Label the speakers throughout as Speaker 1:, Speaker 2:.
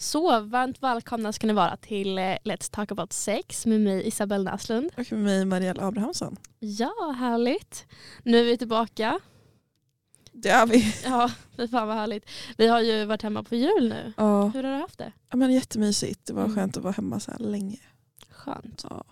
Speaker 1: Så varmt välkomna ska ni vara till eh, Let's Talk About Sex med mig Isabel Näslund.
Speaker 2: Och med mig Marielle Abrahamsson.
Speaker 1: Ja, härligt. Nu är vi tillbaka.
Speaker 2: Det är vi.
Speaker 1: Ja, fy fan vad härligt. Vi har ju varit hemma på jul nu.
Speaker 2: Ja.
Speaker 1: Hur har du haft det?
Speaker 2: Ja, men jättemysigt. Det var
Speaker 1: Mm.
Speaker 2: skönt att vara hemma så här länge.
Speaker 1: Skönt.
Speaker 2: Ja.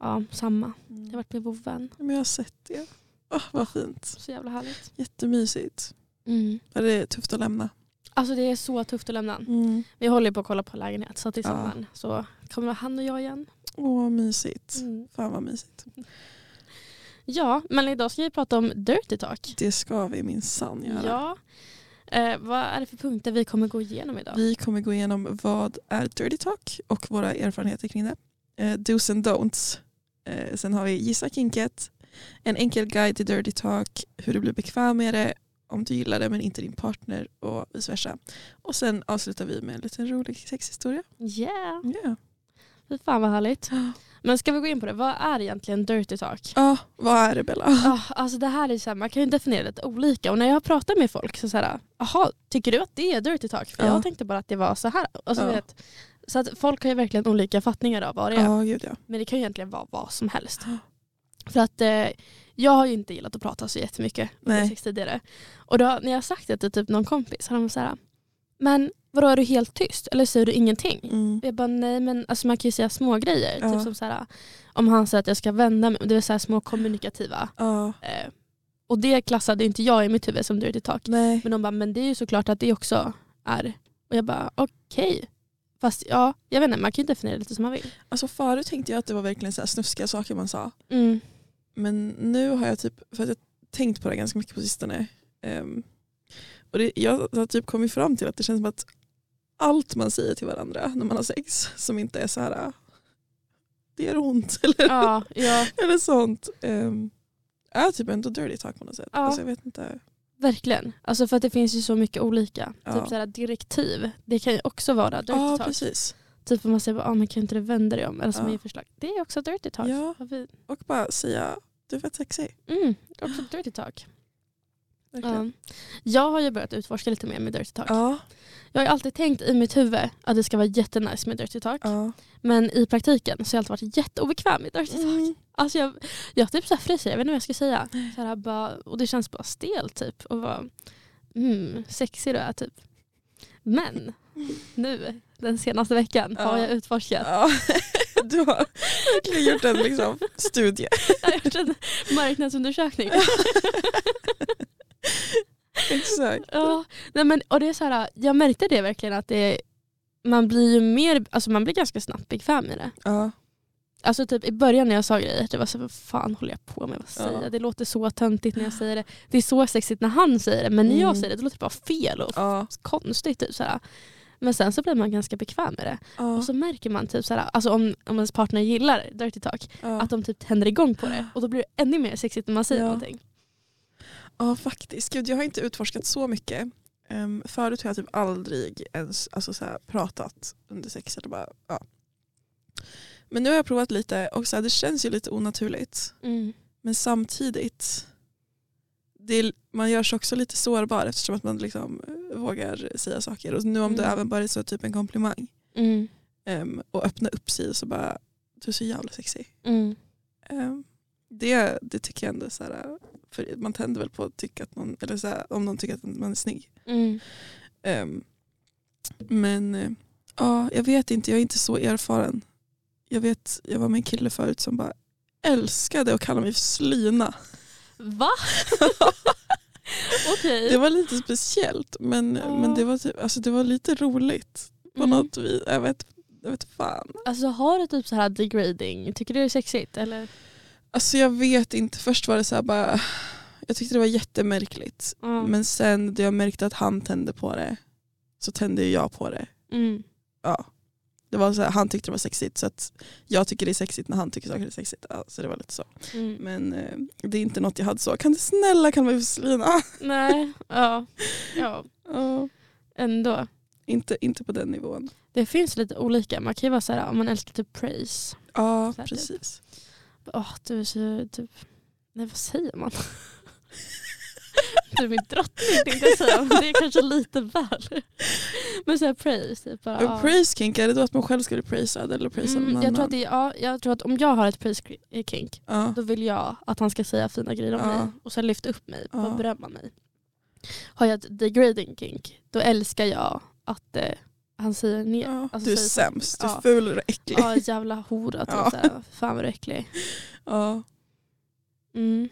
Speaker 1: Ja, samma. Jag har
Speaker 2: Mm.
Speaker 1: varit med vovven.
Speaker 2: Men jag har sett det. Åh, vad fint.
Speaker 1: Så jävla härligt.
Speaker 2: Jättemysigt.
Speaker 1: Mm.
Speaker 2: Ja, det är tufft att lämna.
Speaker 1: Alltså det är så tufft att lämna.
Speaker 2: Mm.
Speaker 1: Vi håller ju på att kolla på lägenhet så till
Speaker 2: Ja.
Speaker 1: sommaren så kommer han och jag igen.
Speaker 2: Åh, vad mysigt.
Speaker 1: Mm.
Speaker 2: Fan vad mysigt.
Speaker 1: Ja, men idag ska vi prata om Dirty Talk.
Speaker 2: Det ska vi minsann göra.
Speaker 1: Ja. Eh, vad är det för punkter vi kommer gå igenom idag?
Speaker 2: Vi kommer gå igenom vad är dirty talk och våra erfarenheter kring det. Eh, do's and don'ts. Eh, sen har vi gissa kinket. En enkel guide till dirty talk. Hur du blir bekväm med det. Om du gillar det men inte din partner och vice versa. Och sen avslutar vi med en liten rolig sexhistoria.
Speaker 1: Yeah,
Speaker 2: Ja,
Speaker 1: fy fan vad härligt. Men ska vi gå in på det, vad är egentligen Dirty Talk?
Speaker 2: Ja, vad är det Bella?
Speaker 1: Ah, alltså det här är så här, man kan ju definiera det lite olika och när jag har pratat med folk så säger jaha, tycker du att det är dirty talk? För
Speaker 2: Ja.
Speaker 1: jag tänkte bara att det var så här. Alltså,
Speaker 2: Ja.
Speaker 1: vet, så att folk har ju verkligen olika fattningar av vad det är.
Speaker 2: Ja, gud ja.
Speaker 1: Men det kan ju egentligen vara vad som helst.
Speaker 2: Ja.
Speaker 1: För att eh, jag har ju inte gillat att prata så jättemycket om
Speaker 2: Nej.
Speaker 1: sex tidigare. Och då, när jag har sagt det till typ någon kompis har de så här, men vadå är du helt tyst eller säger du ingenting?
Speaker 2: Mm.
Speaker 1: Och Jag bara nej men alltså man kan ju säga små grejer.
Speaker 2: Ja.
Speaker 1: Typ som så här, om han säger att jag ska vända mig, det vill säga små kommunikativa.
Speaker 2: Ja,
Speaker 1: Eh, och det klassade inte jag i mitt huvud som dirty talk.
Speaker 2: nej.
Speaker 1: Men de bara, men det är ju såklart att det också är. Och jag bara okej. Fast ja, jag vet inte, man kan ju definiera det lite som man vill.
Speaker 2: Alltså förut tänkte jag att det var verkligen så här snuskiga saker man sa.
Speaker 1: Mm.
Speaker 2: Men nu har jag typ, för att jag har tänkt på det ganska mycket på sistone. Ehm, och det, jag har typ kommit fram till att det känns som att allt man säger till varandra när man har sex som inte är så här "Ah, det gör ont eller,
Speaker 1: Ja, ja,
Speaker 2: eller sånt. ehm, är typ ändå dirty talk på något sätt.
Speaker 1: Ja.
Speaker 2: Alltså jag vet inte.
Speaker 1: verkligen. Alltså för att det finns ju så mycket olika.
Speaker 2: Ja.
Speaker 1: Typ såhär direktiv, det kan ju också vara dirty
Speaker 2: Ja
Speaker 1: talk.
Speaker 2: precis.
Speaker 1: Typ om man säger bara, ah, men kan inte du vända dig om? Eller som
Speaker 2: Ja.
Speaker 1: ja. förslag. Det är också dirty talk.
Speaker 2: Ja.
Speaker 1: Har vi-
Speaker 2: Och bara säga du är fett sexig.
Speaker 1: Mm, det är också dirty talk.
Speaker 2: Verkligen.
Speaker 1: Ja. Ehm, Jag har ju börjat utforska lite mer med dirty talk.
Speaker 2: Ja.
Speaker 1: Jag har ju alltid tänkt i mitt huvud att det ska vara jättenice med dirty talk.
Speaker 2: ja.
Speaker 1: Men i praktiken så har jag alltid varit jätteobekväm med dirty talk.
Speaker 2: Mm.
Speaker 1: Alltså jag, jag typ så här fryser, jag vet inte vad jag ska säga. Så här bara, och det känns bara stel typ. Och bara, mm, sexig du är typ. Men nu, den senaste veckan, har
Speaker 2: Ja.
Speaker 1: jag utforskat.
Speaker 2: Ja. Du har verkligen gjort en liksom, studie.
Speaker 1: Jag har gjort en marknadsundersökning.
Speaker 2: Exakt.
Speaker 1: Ja, nej men, och det är så här, jag märkte det verkligen att det, man blir ju mer, alltså man blir ganska snabbt bekväm i det.
Speaker 2: Ja.
Speaker 1: Alltså typ i början när jag sa grejer, det var så här, vad fan håller jag på med? Vad säger
Speaker 2: Ja.
Speaker 1: jag? Det låter så töntigt när jag säger det. Det är så sexigt när han säger det, men när jag
Speaker 2: Mm.
Speaker 1: säger det, det låter bara fel och
Speaker 2: Ja.
Speaker 1: konstigt. Typ, såhär. Men sen så blir man ganska bekväm med det.
Speaker 2: Ja.
Speaker 1: Och så märker man typ såhär, alltså om, om ens partner gillar dirty talk,
Speaker 2: Ja.
Speaker 1: att de typ tänder igång på det. Och då blir det ännu mer sexigt när man säger
Speaker 2: Ja.
Speaker 1: någonting.
Speaker 2: Ja faktiskt. Gud, jag har inte utforskat så mycket. Ehm, förut har jag typ aldrig ens alltså, så här, pratat under sex. Eller bara, ja. Men nu har jag provat lite och så här, det känns ju lite onaturligt.
Speaker 1: Mm.
Speaker 2: Men samtidigt, det är, man gör sig också lite sårbar eftersom att man liksom eh, vågar säga saker. Och nu om det
Speaker 1: Mm.
Speaker 2: även bara är så typ en komplimang
Speaker 1: Mm.
Speaker 2: ehm, och öppna upp sig och så bara du är så jävla sexig.
Speaker 1: Mm.
Speaker 2: Ehm, Det, det tycker jag ändå så här, för man tänder väl på att tycka att någon, eller så här, om någon tycker att man är snygg.
Speaker 1: Mm.
Speaker 2: Ehm, men eh, ja, jag vet inte, jag är inte så erfaren. Jag vet, jag var med en kille förut som bara älskade att kalla mig för slyna.
Speaker 1: Va? Okej.
Speaker 2: Det var lite speciellt men,
Speaker 1: Ja.
Speaker 2: men det, var typ, alltså det var lite roligt på
Speaker 1: Mm.
Speaker 2: något vis. Jag vet, jag vet fan.
Speaker 1: Alltså har du typ så här degrading, tycker du det är sexigt? Eller?
Speaker 2: Alltså jag vet inte, först var det så här bara, jag tyckte det var jättemärkligt.
Speaker 1: Ja.
Speaker 2: Men sen då jag märkte att han tände på det så tände ju jag på det.
Speaker 1: Mm.
Speaker 2: Ja. Det var så här, han tyckte det var sexigt så att jag tycker det är sexigt när han tycker saker är sexigt. Ja, så det var lite så.
Speaker 1: Mm.
Speaker 2: Men eh, det är inte något jag hade så. Kan du snälla kalla mig för Selina?
Speaker 1: Nej, ja. ja.
Speaker 2: Ja,
Speaker 1: Ändå.
Speaker 2: inte, inte på den nivån.
Speaker 1: Det finns lite olika, man kan ju vara så här, om man älskar typ praise.
Speaker 2: Ja,
Speaker 1: Så här typ.
Speaker 2: precis.
Speaker 1: Åh, du är så typ, nej vad säger man? du är min drottning tänkte jag säga. Men Det är kanske lite väl. Men såhär praise. Typ bara,
Speaker 2: Ja.
Speaker 1: ja.
Speaker 2: Praise kink, är det då att man själv ska bli praisad eller praisad
Speaker 1: Mm,
Speaker 2: någon
Speaker 1: jag, tror
Speaker 2: annan?
Speaker 1: att det, är- ja, jag tror att om jag har ett praise kri- kink
Speaker 2: Ja.
Speaker 1: då vill jag att han ska säga fina grejer om
Speaker 2: Ja.
Speaker 1: mig och sen lyfta upp mig
Speaker 2: Ja.
Speaker 1: och berömma mig. Har jag ett degrading kink då älskar jag att eh, han säger ner.
Speaker 2: Ja.
Speaker 1: Alltså,
Speaker 2: du är
Speaker 1: säg så.
Speaker 2: sämst, du är
Speaker 1: Ja.
Speaker 2: ful och äcklig.
Speaker 1: Ja, jävla hora. Typ,
Speaker 2: Ja.
Speaker 1: såhär, fan vad du är äcklig.
Speaker 2: Ja.
Speaker 1: Mm.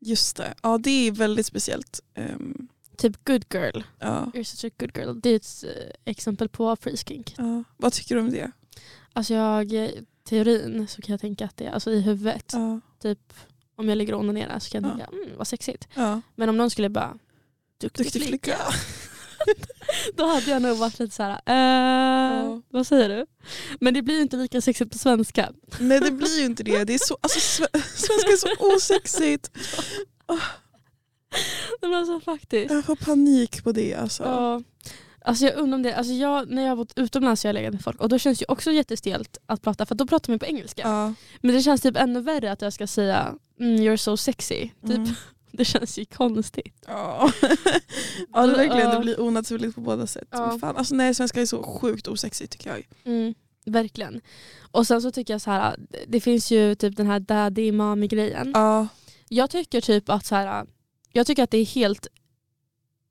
Speaker 2: Just det, ja det är väldigt speciellt. Ehm,
Speaker 1: Typ good girl.
Speaker 2: ja.
Speaker 1: You're such a good girl. Det är ett eh, exempel på praise kink.
Speaker 2: Ja. Vad tycker du om det?
Speaker 1: Alltså jag, eh, teorin så kan jag tänka att det är, alltså i huvudet,
Speaker 2: Ja.
Speaker 1: typ om jag ligger och onanerar så kan jag
Speaker 2: Ja.
Speaker 1: tänka mm, vad sexigt.
Speaker 2: Ja.
Speaker 1: Men om någon skulle bara duktig,
Speaker 2: Duktig
Speaker 1: flicka.
Speaker 2: flicka.
Speaker 1: Då hade jag nog varit lite så här, eh,
Speaker 2: Ja.
Speaker 1: vad säger du? Men det blir ju inte lika sexigt på svenska.
Speaker 2: Nej det blir ju inte det. det är så, alltså, sve- svenska är så osexigt.
Speaker 1: Men alltså faktiskt.
Speaker 2: Jag får panik på det alltså.
Speaker 1: Ja. Alltså jag undrar om det, alltså jag, när jag har varit utomlands så har jag legat med folk och då känns det ju också jättestelt att prata för då pratar man ju på engelska.
Speaker 2: Ja.
Speaker 1: Men det känns typ ännu värre att jag ska säga mm, you're so sexy. Typ.
Speaker 2: Mm.
Speaker 1: Det känns ju konstigt.
Speaker 2: Ja. ja det är verkligen, det
Speaker 1: Ja.
Speaker 2: blir onaturligt på båda sätt.
Speaker 1: Ja.
Speaker 2: Men Fan, alltså, nej svenska är så sjukt osexigt tycker jag.
Speaker 1: Mm, verkligen. Och sen så tycker jag så här, det finns ju typ den här daddy mommy grejen.
Speaker 2: Ja.
Speaker 1: Jag tycker typ att så här, jag tycker att det är helt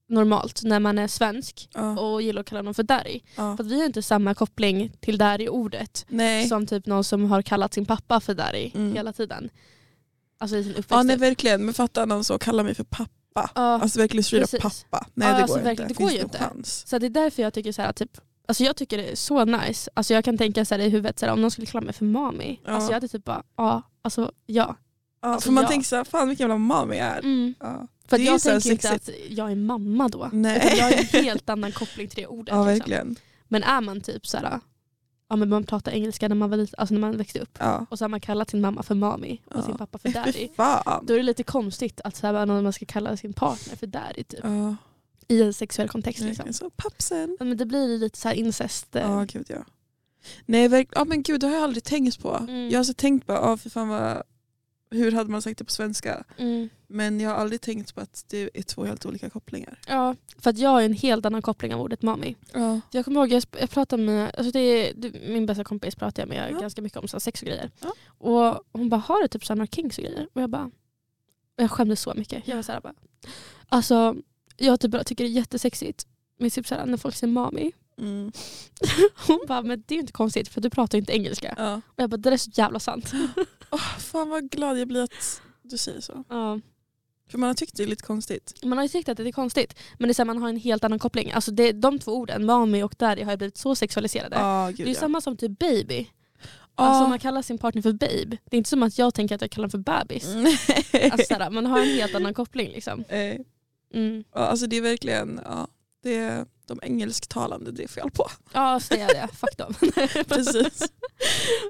Speaker 1: normalt när man är svensk
Speaker 2: Ja.
Speaker 1: och gillar att kalla någon för daddy.
Speaker 2: Ja.
Speaker 1: För att vi har inte samma koppling till daddy-ordet
Speaker 2: Nej.
Speaker 1: som typ någon som har kallat sin pappa för daddy
Speaker 2: Mm.
Speaker 1: hela tiden. Alltså i sin uppväxt.
Speaker 2: Ja nej
Speaker 1: typ.
Speaker 2: verkligen, men fatta någon så kallar mig för pappa.
Speaker 1: Ja.
Speaker 2: Alltså verkligen styra
Speaker 1: precis.
Speaker 2: pappa. Nej
Speaker 1: Ja,
Speaker 2: det
Speaker 1: alltså,
Speaker 2: går inte.
Speaker 1: verkligen, det går
Speaker 2: Finns
Speaker 1: ju
Speaker 2: det
Speaker 1: inte.
Speaker 2: någon chans?
Speaker 1: Så det är därför jag tycker så här, typ, alltså jag tycker det är så nice. Alltså jag kan tänka så här i huvudet så här, om någon skulle kalla mig för mami.
Speaker 2: Ja.
Speaker 1: Alltså jag hade typ bara ja, alltså ja.
Speaker 2: Ja,
Speaker 1: Alltså,
Speaker 2: för man
Speaker 1: ja.
Speaker 2: tänker såhär, fan vilken jävla mami jag är.
Speaker 1: Mm.
Speaker 2: Ja.
Speaker 1: För att
Speaker 2: Det är ju
Speaker 1: jag
Speaker 2: så här
Speaker 1: tänker inte att jag är mamma då.
Speaker 2: Nej.
Speaker 1: Utan jag har en helt annan koppling till det ordet.
Speaker 2: ja
Speaker 1: liksom.
Speaker 2: verkligen.
Speaker 1: Men är man typ så här, ja men man pratar engelska när man var liten, alltså när man växte upp.
Speaker 2: Ja.
Speaker 1: Och så har man kallat sin mamma för mami och
Speaker 2: Ja.
Speaker 1: sin pappa för
Speaker 2: Fy
Speaker 1: daddy.
Speaker 2: fan.
Speaker 1: Då är det lite konstigt att så här, man ska kalla sin partner för daddy typ.
Speaker 2: Ja,
Speaker 1: I en sexuell kontext liksom.
Speaker 2: verkligen så. Pappsen.
Speaker 1: Ja, Men det blir lite så här incest. eh,
Speaker 2: Ja gud ja. Nej verk- ja, men gud det har jag aldrig tänkt på.
Speaker 1: Mm.
Speaker 2: Jag har så tänkt bara, ja, för fan vad, hur hade man sagt det på svenska?
Speaker 1: Mm.
Speaker 2: Men jag har aldrig tänkt på att det är två helt olika kopplingar.
Speaker 1: Ja, för att jag har ju en helt annan koppling av ordet mami.
Speaker 2: Ja.
Speaker 1: För Jag kommer ihåg, jag, sp- jag pratade med, alltså det är, det, min bästa kompis pratade jag med
Speaker 2: Ja.
Speaker 1: ganska mycket om så här sex och grejer.
Speaker 2: Ja.
Speaker 1: Och hon bara, har du typ såhär några kinks och grejer? Och jag bara, och jag skämdes så mycket. Jag var såhär bara, alltså jag typ bara tycker det är jättesexigt. Men typ såhär när folk säger mami.
Speaker 2: Mm.
Speaker 1: Hon bara, men det är ju inte konstigt för du pratar ju inte engelska.
Speaker 2: ja.
Speaker 1: Och jag bara, det där är så jävla sant.
Speaker 2: Åh, fan vad glad jag blir att du säger så.
Speaker 1: Ja.
Speaker 2: För man har tyckt det är lite konstigt.
Speaker 1: Man har ju tyckt att det är konstigt. Men det är så här, man har en helt annan koppling. Alltså det, de två orden, mami och daddy, har ju blivit så sexualiserade.
Speaker 2: Ja,
Speaker 1: Det
Speaker 2: gud
Speaker 1: är ju
Speaker 2: ja.
Speaker 1: samma som typ baby.
Speaker 2: Ja.
Speaker 1: Alltså man kallar sin partner för babe. Det är inte som att jag tänker att jag kallar den för bebis.
Speaker 2: Mm. Nej.
Speaker 1: Alltså, såhär, man har en helt annan koppling liksom.
Speaker 2: Eh,
Speaker 1: Mm.
Speaker 2: ja, alltså det är verkligen, ja, det är de engelsktalande det är fel på.
Speaker 1: Ja, så det är det. Fuck dem.
Speaker 2: Precis.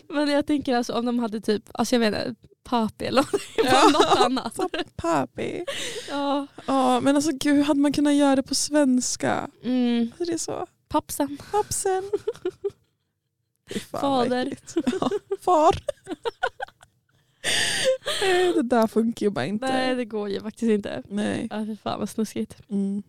Speaker 1: Men jag tänker alltså om de hade typ, alltså jag vet inte, papi eller
Speaker 2: Ja.
Speaker 1: något annat.
Speaker 2: Papi.
Speaker 1: Ja.
Speaker 2: Ja, men alltså gud, hur hade man kunnat göra det på svenska?
Speaker 1: Mm.
Speaker 2: Alltså det är så,
Speaker 1: Pappsen.
Speaker 2: pappsen. Fy fan, vad
Speaker 1: Fader.
Speaker 2: äckligt. Ja, far. Eh, Det där funkar ju bara inte.
Speaker 1: Nej det går ju faktiskt inte.
Speaker 2: Nej.
Speaker 1: Ja, för fan vad snuskigt.
Speaker 2: Mm.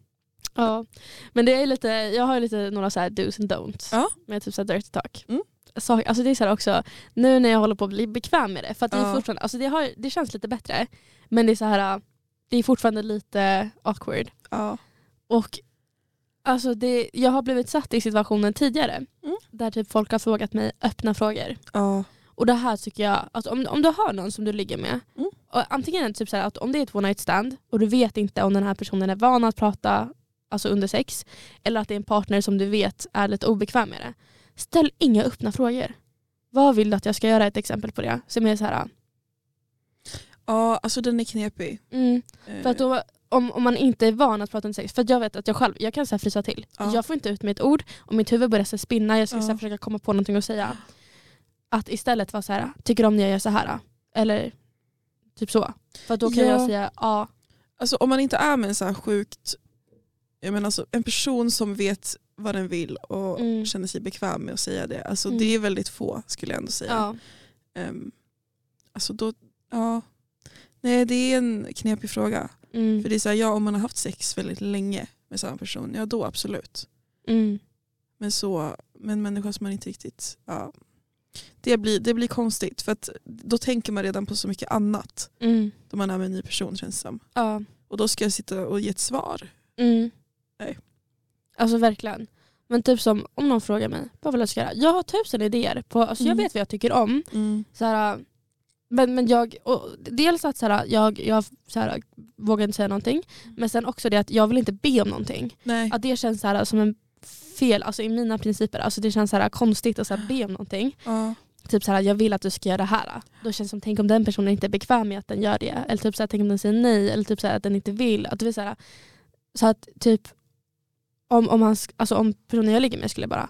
Speaker 1: Ja. Men det är lite, jag har ju lite några så här do's and don'ts
Speaker 2: Ja.
Speaker 1: med typ så här dirty talk.
Speaker 2: Mm.
Speaker 1: Så, alltså det är så här också, nu när jag håller på att bli bekväm med det, för att det,
Speaker 2: Ja.
Speaker 1: är fortfarande, alltså det, har, det känns lite bättre men det är så här, det är fortfarande lite awkward.
Speaker 2: Ja.
Speaker 1: Och alltså det, jag har blivit satt i situationen tidigare
Speaker 2: Mm.
Speaker 1: där typ folk har frågat mig öppna frågor.
Speaker 2: Ja.
Speaker 1: Och det här tycker jag, alltså om, om du har någon som du ligger med,
Speaker 2: Mm.
Speaker 1: och antingen är det typ så här att om det är ett one night stand och du vet inte om den här personen är van att prata alltså under sex, eller att det är en partner som du vet är lite obekväm med det. Ställ inga öppna frågor. Vad vill du att jag ska göra? Ett exempel på det. Som är så här,
Speaker 2: ja, alltså den är knepig.
Speaker 1: mm,
Speaker 2: Eh,
Speaker 1: för att då, om, om man inte är van att prata under sex, för att jag vet att jag själv jag kan så här frysa till.
Speaker 2: Ja.
Speaker 1: Jag får inte ut mitt ord och mitt huvud börjar så här spinna. Jag ska så
Speaker 2: Ja.
Speaker 1: här försöka komma på någonting att säga. Att istället vara så här, tycker du om när jag gör så här? Eller typ så. För att då kan
Speaker 2: Ja.
Speaker 1: jag säga ja.
Speaker 2: Alltså om man inte är med en så här sjukt, jag menar alltså, en person som vet vad den vill och
Speaker 1: Mm.
Speaker 2: känner sig bekväm med att säga det. Alltså
Speaker 1: Mm.
Speaker 2: det är väldigt få skulle jag ändå säga.
Speaker 1: ja.
Speaker 2: Ehm, alltså då, ja. Nej det är en knepig fråga.
Speaker 1: Mm.
Speaker 2: För det är så här, ja om man har haft sex väldigt länge med samma person, ja då absolut.
Speaker 1: Mm.
Speaker 2: Men så, med en människa som man inte riktigt, ja. Det blir, det blir konstigt för att då tänker man redan på så mycket annat
Speaker 1: Mm.
Speaker 2: då man är med en ny person känns det som.
Speaker 1: Ja.
Speaker 2: Och då ska jag sitta och ge ett svar.
Speaker 1: Mm.
Speaker 2: Nej.
Speaker 1: Alltså verkligen. Men typ som om någon frågar mig, vad vill jag ska göra? Jag har tusen idéer. På, alltså
Speaker 2: Mm.
Speaker 1: Jag vet vad jag tycker om. Så här, men, men jag, och dels att så här, jag, jag så här, vågar inte säga någonting. Men sen också det att jag vill inte be om någonting.
Speaker 2: Nej.
Speaker 1: Att det känns så här, som en fel, alltså i mina principer. Alltså det känns så här, konstigt att så här, be om någonting.
Speaker 2: Ja.
Speaker 1: Typ så här, jag vill att du ska göra det här. Då känns det som, tänk om den personen inte är bekväm med att den gör det. Eller typ så här, tänk om den säger nej. Eller typ så här, att den inte vill. Att det är så, här, så att typ om, om, han, sk- alltså, om personen jag ligger med skulle bara,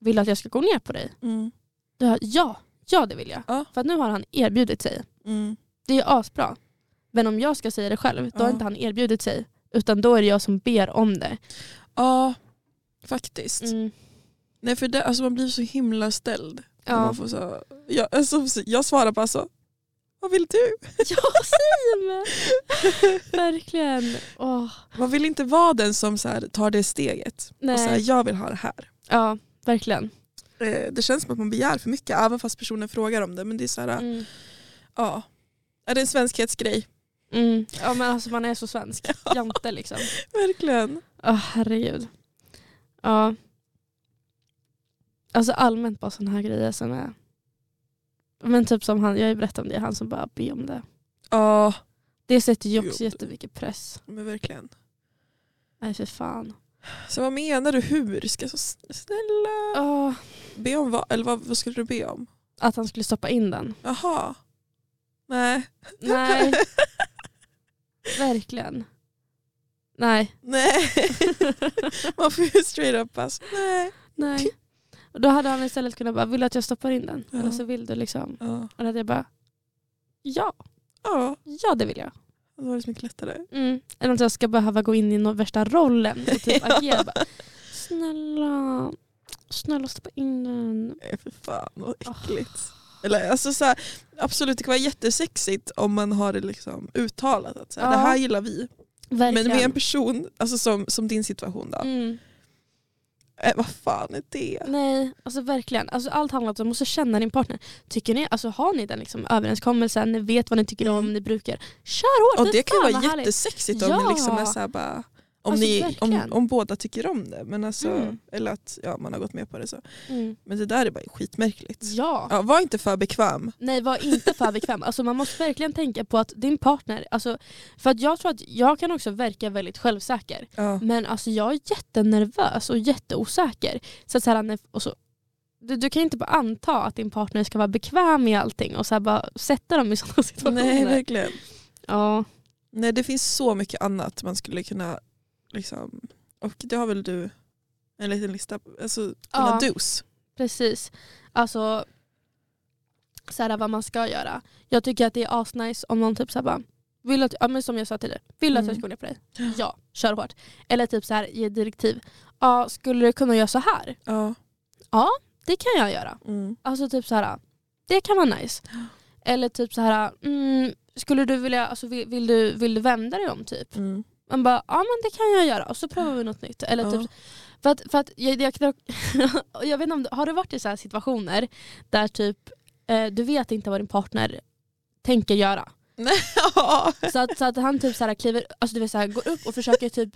Speaker 1: vill du att jag ska gå ner på dig?
Speaker 2: Mm.
Speaker 1: Då har jag, ja, ja det vill jag.
Speaker 2: Ja.
Speaker 1: För att nu har han erbjudit sig.
Speaker 2: Mm.
Speaker 1: Det är ju asbra. Men om jag ska säga det själv, då har
Speaker 2: Ja.
Speaker 1: inte han erbjudit sig. Utan då är det jag som ber om det.
Speaker 2: ja, faktiskt.
Speaker 1: Mm.
Speaker 2: Nej för det, alltså man blir så himla ställd. när
Speaker 1: Ja.
Speaker 2: Man får så, jag, alltså, jag svarar bara så, vad vill du?
Speaker 1: ja, säg mig! Verkligen. Åh,
Speaker 2: Man vill inte vara den som så här, tar det steget.
Speaker 1: nej.
Speaker 2: Och så här, jag vill ha det här.
Speaker 1: ja, verkligen.
Speaker 2: Eh, Det känns som att man begär för mycket även fast personen frågar om det. Men det är så här,
Speaker 1: Mm.
Speaker 2: ja. Är det en svenskhetsgrej?
Speaker 1: Mm. Ja, men alltså, man är så svensk. Jante liksom.
Speaker 2: Verkligen.
Speaker 1: Åh herregud. Ja. Alltså allmänt bara sådana här grejer som är... Men typ som han, jag har ju berättat om det, han som bara ber om det.
Speaker 2: Ja,
Speaker 1: Det sätter ju också
Speaker 2: Jobbigt.
Speaker 1: jättemycket press.
Speaker 2: men verkligen.
Speaker 1: Nej för fan.
Speaker 2: Så vad menar du hur? Ska jag så snälla
Speaker 1: Åh,
Speaker 2: be om vad? Eller vad, vad skulle du be om?
Speaker 1: att han skulle stoppa in den.
Speaker 2: Jaha. Nej.
Speaker 1: Nej. Verkligen. Nej.
Speaker 2: Nej. Man får ju straight up pass. Nej.
Speaker 1: Nej. Och då hade han istället kunnat bara, vill du att jag stoppar in den?
Speaker 2: Ja.
Speaker 1: Eller så vill du liksom.
Speaker 2: Ja.
Speaker 1: Och då hade jag bara, ja,
Speaker 2: ja,
Speaker 1: ja det vill jag.
Speaker 2: det var det så mycket lättare.
Speaker 1: Mm. Eller att jag ska behöva gå in i någon värsta rollen och typ
Speaker 2: Ja.
Speaker 1: agera. Bara, snälla, snälla stoppa in den.
Speaker 2: Nej, för fan vad
Speaker 1: Ah.
Speaker 2: äckligt. Eller, alltså, så här, absolut det kan vara jättesexigt om man har det liksom uttalat att så här,
Speaker 1: Ja.
Speaker 2: det här gillar vi.
Speaker 1: Verkligen.
Speaker 2: Men med en person alltså, som, som din situation då.
Speaker 1: mm.
Speaker 2: Eh, vad fan är det?
Speaker 1: Nej, alltså verkligen. Alltså allt handlar om att du måste känna din partner. Tycker ni, alltså har ni den liksom överenskommelsen, ni vet vad ni tycker om,
Speaker 2: Mm.
Speaker 1: ni brukar. Kör hårt,
Speaker 2: Och
Speaker 1: fy
Speaker 2: det kan ju
Speaker 1: fan,
Speaker 2: vara
Speaker 1: vad härligt.
Speaker 2: jättesexigt om
Speaker 1: Ja.
Speaker 2: ni liksom är så här bara om,
Speaker 1: Alltså,
Speaker 2: ni, om,
Speaker 1: verkligen.
Speaker 2: om båda tycker om det. Men alltså,
Speaker 1: Mm.
Speaker 2: Eller att ja, man har gått med på det. så.
Speaker 1: Mm.
Speaker 2: Men det där är bara skitmärkligt.
Speaker 1: Ja.
Speaker 2: Ja, var inte för bekväm.
Speaker 1: Nej var inte för bekväm. Alltså man måste verkligen tänka på att din partner, alltså, för att jag tror att jag kan också verka väldigt självsäker.
Speaker 2: Ja.
Speaker 1: Men alltså jag är jättenervös och jätteosäker. Så att så här, när- och så, du, du kan ju inte bara anta att din partner ska vara bekväm med allting och så här bara sätta dem i sådana situationer.
Speaker 2: Nej, verkligen.
Speaker 1: Ja.
Speaker 2: Nej, det finns så mycket annat man skulle kunna... Liksom, och det har väl du en liten lista på? Alltså, dina
Speaker 1: Ja.
Speaker 2: dos.
Speaker 1: Precis. Alltså så här, vad man ska göra. Jag tycker att det är asnice om någon typ så här, bara, vill att, ja, men som jag sa tidigare, vill du att jag
Speaker 2: Mm.
Speaker 1: ska gå ner på dig? Ja, kör hårt. Eller typ så här, ge direktiv. Ja, skulle du kunna göra så här?
Speaker 2: Ja.
Speaker 1: Det kan jag göra.
Speaker 2: Mm.
Speaker 1: Alltså typ så här, det kan vara nice. Eller typ så här, mm, skulle du vilja, alltså vill, vill, du, vill du vända dig om typ?
Speaker 2: Mm.
Speaker 1: Man bara, ja men det kan jag göra och så provar vi något nytt. Eller
Speaker 2: Ja.
Speaker 1: typ, för att, för att jag, jag, kan dock- jag vet inte om, du- har det varit i så här situationer där typ eh, du vet inte vad din partner tänker göra.
Speaker 2: Ja.
Speaker 1: Så att, så att han typ så här kliver, alltså du vet så här, går upp och försöker typ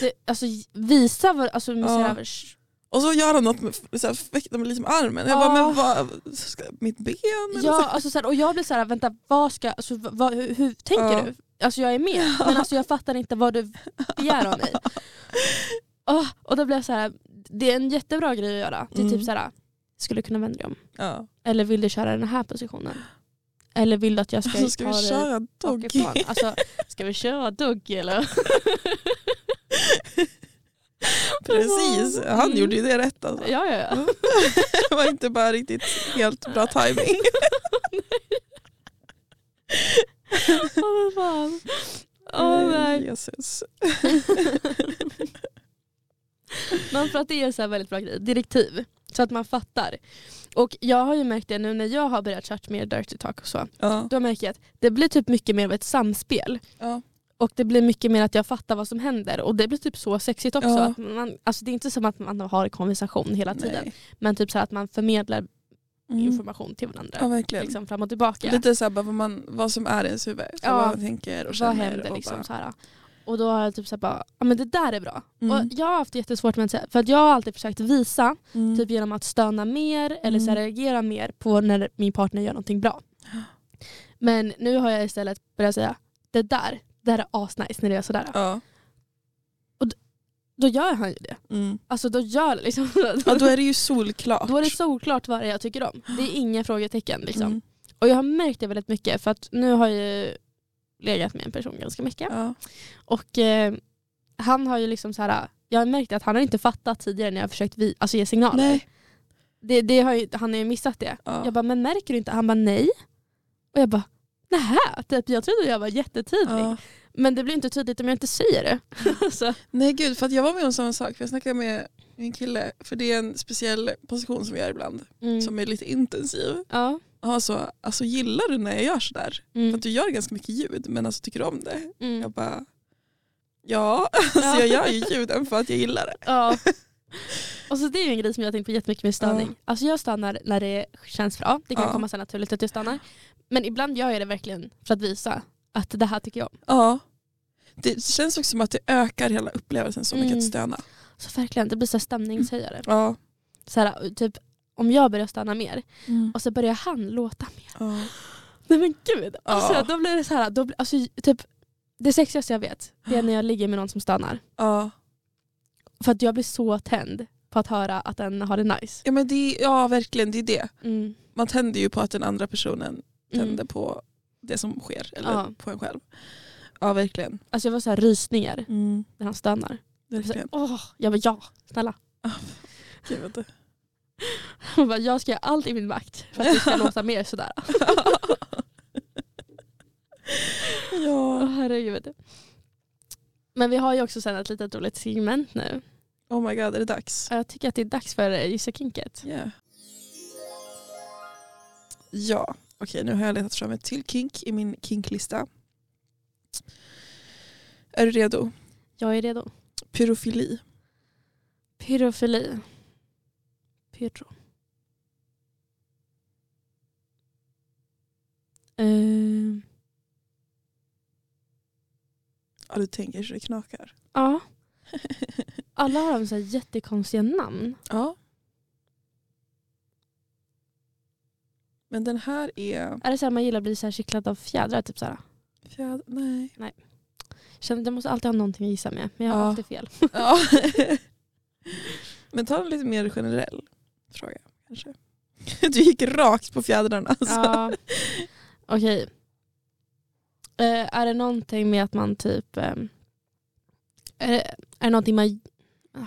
Speaker 1: det, alltså, visa vad, alltså, med
Speaker 2: Ja.
Speaker 1: så här, sh-
Speaker 2: Och så gör han något med, så här, fäktar med liksom armen. Jag bara,
Speaker 1: Ja.
Speaker 2: men vad, ska, mitt ben? Eller
Speaker 1: ja,
Speaker 2: så?
Speaker 1: alltså, så här, och jag blir så här, vänta vad ska, alltså, v- vad, hur, hur tänker
Speaker 2: Ja.
Speaker 1: du? Alltså jag är med men alltså, jag fattar inte vad du begär av mig. Åh, och då blir jag så här, det är en jättebra grej att göra. Det är
Speaker 2: Mm.
Speaker 1: typ så här, skulle du kunna vända dig om?
Speaker 2: Ja.
Speaker 1: Eller vill du köra den här positionen? Eller vill du att jag ska,
Speaker 2: Så Alltså, ska
Speaker 1: ta
Speaker 2: vi
Speaker 1: dig
Speaker 2: köra doggy?
Speaker 1: bakifrån? Alltså, ska vi köra doggy eller?
Speaker 2: Precis, han
Speaker 1: Mm.
Speaker 2: gjorde ju det rätt alltså.
Speaker 1: Ja, ja, ja.
Speaker 2: Det var inte bara riktigt helt bra timing.
Speaker 1: Åh, vad fan. Åh, nej.
Speaker 2: Jesus.
Speaker 1: Men för att det är en så här väldigt bra grej, direktiv. Så att man fattar. Och jag har ju märkt det nu när jag har börjat kört mer dirty talk och så.
Speaker 2: Ja.
Speaker 1: Då märker jag att det blir typ mycket mer av ett samspel.
Speaker 2: Ja.
Speaker 1: Och det blir mycket mer att jag fattar vad som händer. Och det blir typ så sexigt också.
Speaker 2: Ja.
Speaker 1: Att man, alltså det är inte som att man har en konversation hela tiden.
Speaker 2: Nej.
Speaker 1: Men typ så här att man förmedlar
Speaker 2: Mm.
Speaker 1: information till varandra.
Speaker 2: Ja verkligen.
Speaker 1: liksom fram och tillbaka.
Speaker 2: Lite så här, bara vad, man, vad som är i ens huvud. Så
Speaker 1: Ja.
Speaker 2: Vad man tänker och
Speaker 1: vad
Speaker 2: känner.
Speaker 1: händer
Speaker 2: och
Speaker 1: liksom
Speaker 2: bara,
Speaker 1: så här. Och då har jag typ så här bara, ja men det där är bra.
Speaker 2: Mm.
Speaker 1: Och jag har haft jättesvårt med det, för att jag har alltid försökt visa,
Speaker 2: mm.
Speaker 1: typ genom att stöna mer eller så här
Speaker 2: Mm.
Speaker 1: reagera mer på när min partner gör någonting bra. Men nu har jag istället börjat säga, det där, det där är asnice när det är sådär.
Speaker 2: Ja.
Speaker 1: Då gör han ju det.
Speaker 2: Mm.
Speaker 1: Alltså då gör liksom.
Speaker 2: ja då är det ju solklart.
Speaker 1: Då är det solklart vad det är jag tycker om. Det är inga frågetecken. Liksom.
Speaker 2: Mm.
Speaker 1: Och jag har märkt det väldigt mycket för att nu har jag ju legat med en person ganska mycket.
Speaker 2: Ja.
Speaker 1: Och eh, han har ju liksom så här, jag har märkt att han har inte fattat tidigare när jag har försökt vi, alltså ge signaler.
Speaker 2: Nej.
Speaker 1: Det, det har ju, han har ju missat det.
Speaker 2: Ja.
Speaker 1: Jag bara, men märker du inte? Han bara nej. Och jag bara, nähä, typ, jag trodde jag var jättetydlig.
Speaker 2: Ja.
Speaker 1: Men det blir inte tydligt om jag inte säger det. så,
Speaker 2: Nej gud, för att jag var med om samma sak. För jag snackade med min kille. För det är en speciell position som vi gör ibland.
Speaker 1: mm.
Speaker 2: Som är lite intensiv.
Speaker 1: ja,
Speaker 2: Ja, så, alltså gillar du när jag gör sådär? För
Speaker 1: mm,
Speaker 2: att du gör ganska mycket ljud men alltså tycker du om det?
Speaker 1: mm.
Speaker 2: Jag bara Ja, alltså
Speaker 1: Ja.
Speaker 2: jag gör ju ljuden för att jag gillar det.
Speaker 1: Ja. Och så det är ju en grej som jag har tänkt på jättemycket med störning. Alltså jag stannar när det känns bra. Det kan
Speaker 2: Ja.
Speaker 1: komma så naturligt att jag stannar. Men ibland gör jag det verkligen för att visa att det här tycker jag om.
Speaker 2: Ja. Det känns också som att det ökar hela upplevelsen så mycket
Speaker 1: Mm.
Speaker 2: att stöna.
Speaker 1: Så verkligen, det blir så här stämningshöjare.
Speaker 2: Ja.
Speaker 1: Så här, typ, om jag börjar stanna mer och så börjar han låta mer.
Speaker 2: ja.
Speaker 1: Nej men gud! Alltså,
Speaker 2: Ja.
Speaker 1: då blir det så här, då blir, alltså, typ, det sexigaste jag vet det är när jag ligger med någon som stannar.
Speaker 2: Ja.
Speaker 1: För att jag blir så tänd på att höra att den har det nice.
Speaker 2: Ja, men det är, ja, verkligen det är det.
Speaker 1: Mm.
Speaker 2: Man tänder ju på att den andra personen
Speaker 1: Mm.
Speaker 2: tänder på det som sker. Eller
Speaker 1: Ja.
Speaker 2: på en själv. Ja, verkligen.
Speaker 1: Alltså jag får så här rysningar när han stannar. Så,
Speaker 2: verkligen.
Speaker 1: åh, jag bara ja, snälla.
Speaker 2: Gud, vänta.
Speaker 1: Hon bara, jag ska göra allt i min makt för att det ska låta mer sådär. Åh,
Speaker 2: ja.
Speaker 1: herregud. Men vi har ju också sen ett litet roligt segment nu.
Speaker 2: Oh my god, är det dags?
Speaker 1: Jag tycker att det är dags för Gissa Kinket.
Speaker 2: Yeah. Ja, okej nu har jag letat fram ett till kink i min kinklista. Är du redo?
Speaker 1: Jag är redo.
Speaker 2: Pyrofili.
Speaker 1: Pyrofili. Pyro. Eh,
Speaker 2: Ja, du tänker så det knakar.
Speaker 1: ja. Alla har de så här jättekonstiga namn.
Speaker 2: Ja. Men den här är...
Speaker 1: Är det så här man gillar att bli så här kycklad av fjädrar? Typ så här?
Speaker 2: Fjäder... Nej.
Speaker 1: Känner, jag måste alltid ha någonting att gissa med men jag har
Speaker 2: Ja.
Speaker 1: alltid fel.
Speaker 2: Ja. Men ta en lite mer generell fråga kanske. Du gick rakt på fjädrarna. Alltså.
Speaker 1: Ja. Okej. Eh, är det någonting med att man typ... ehm, är, det, är det någonting man... Ah.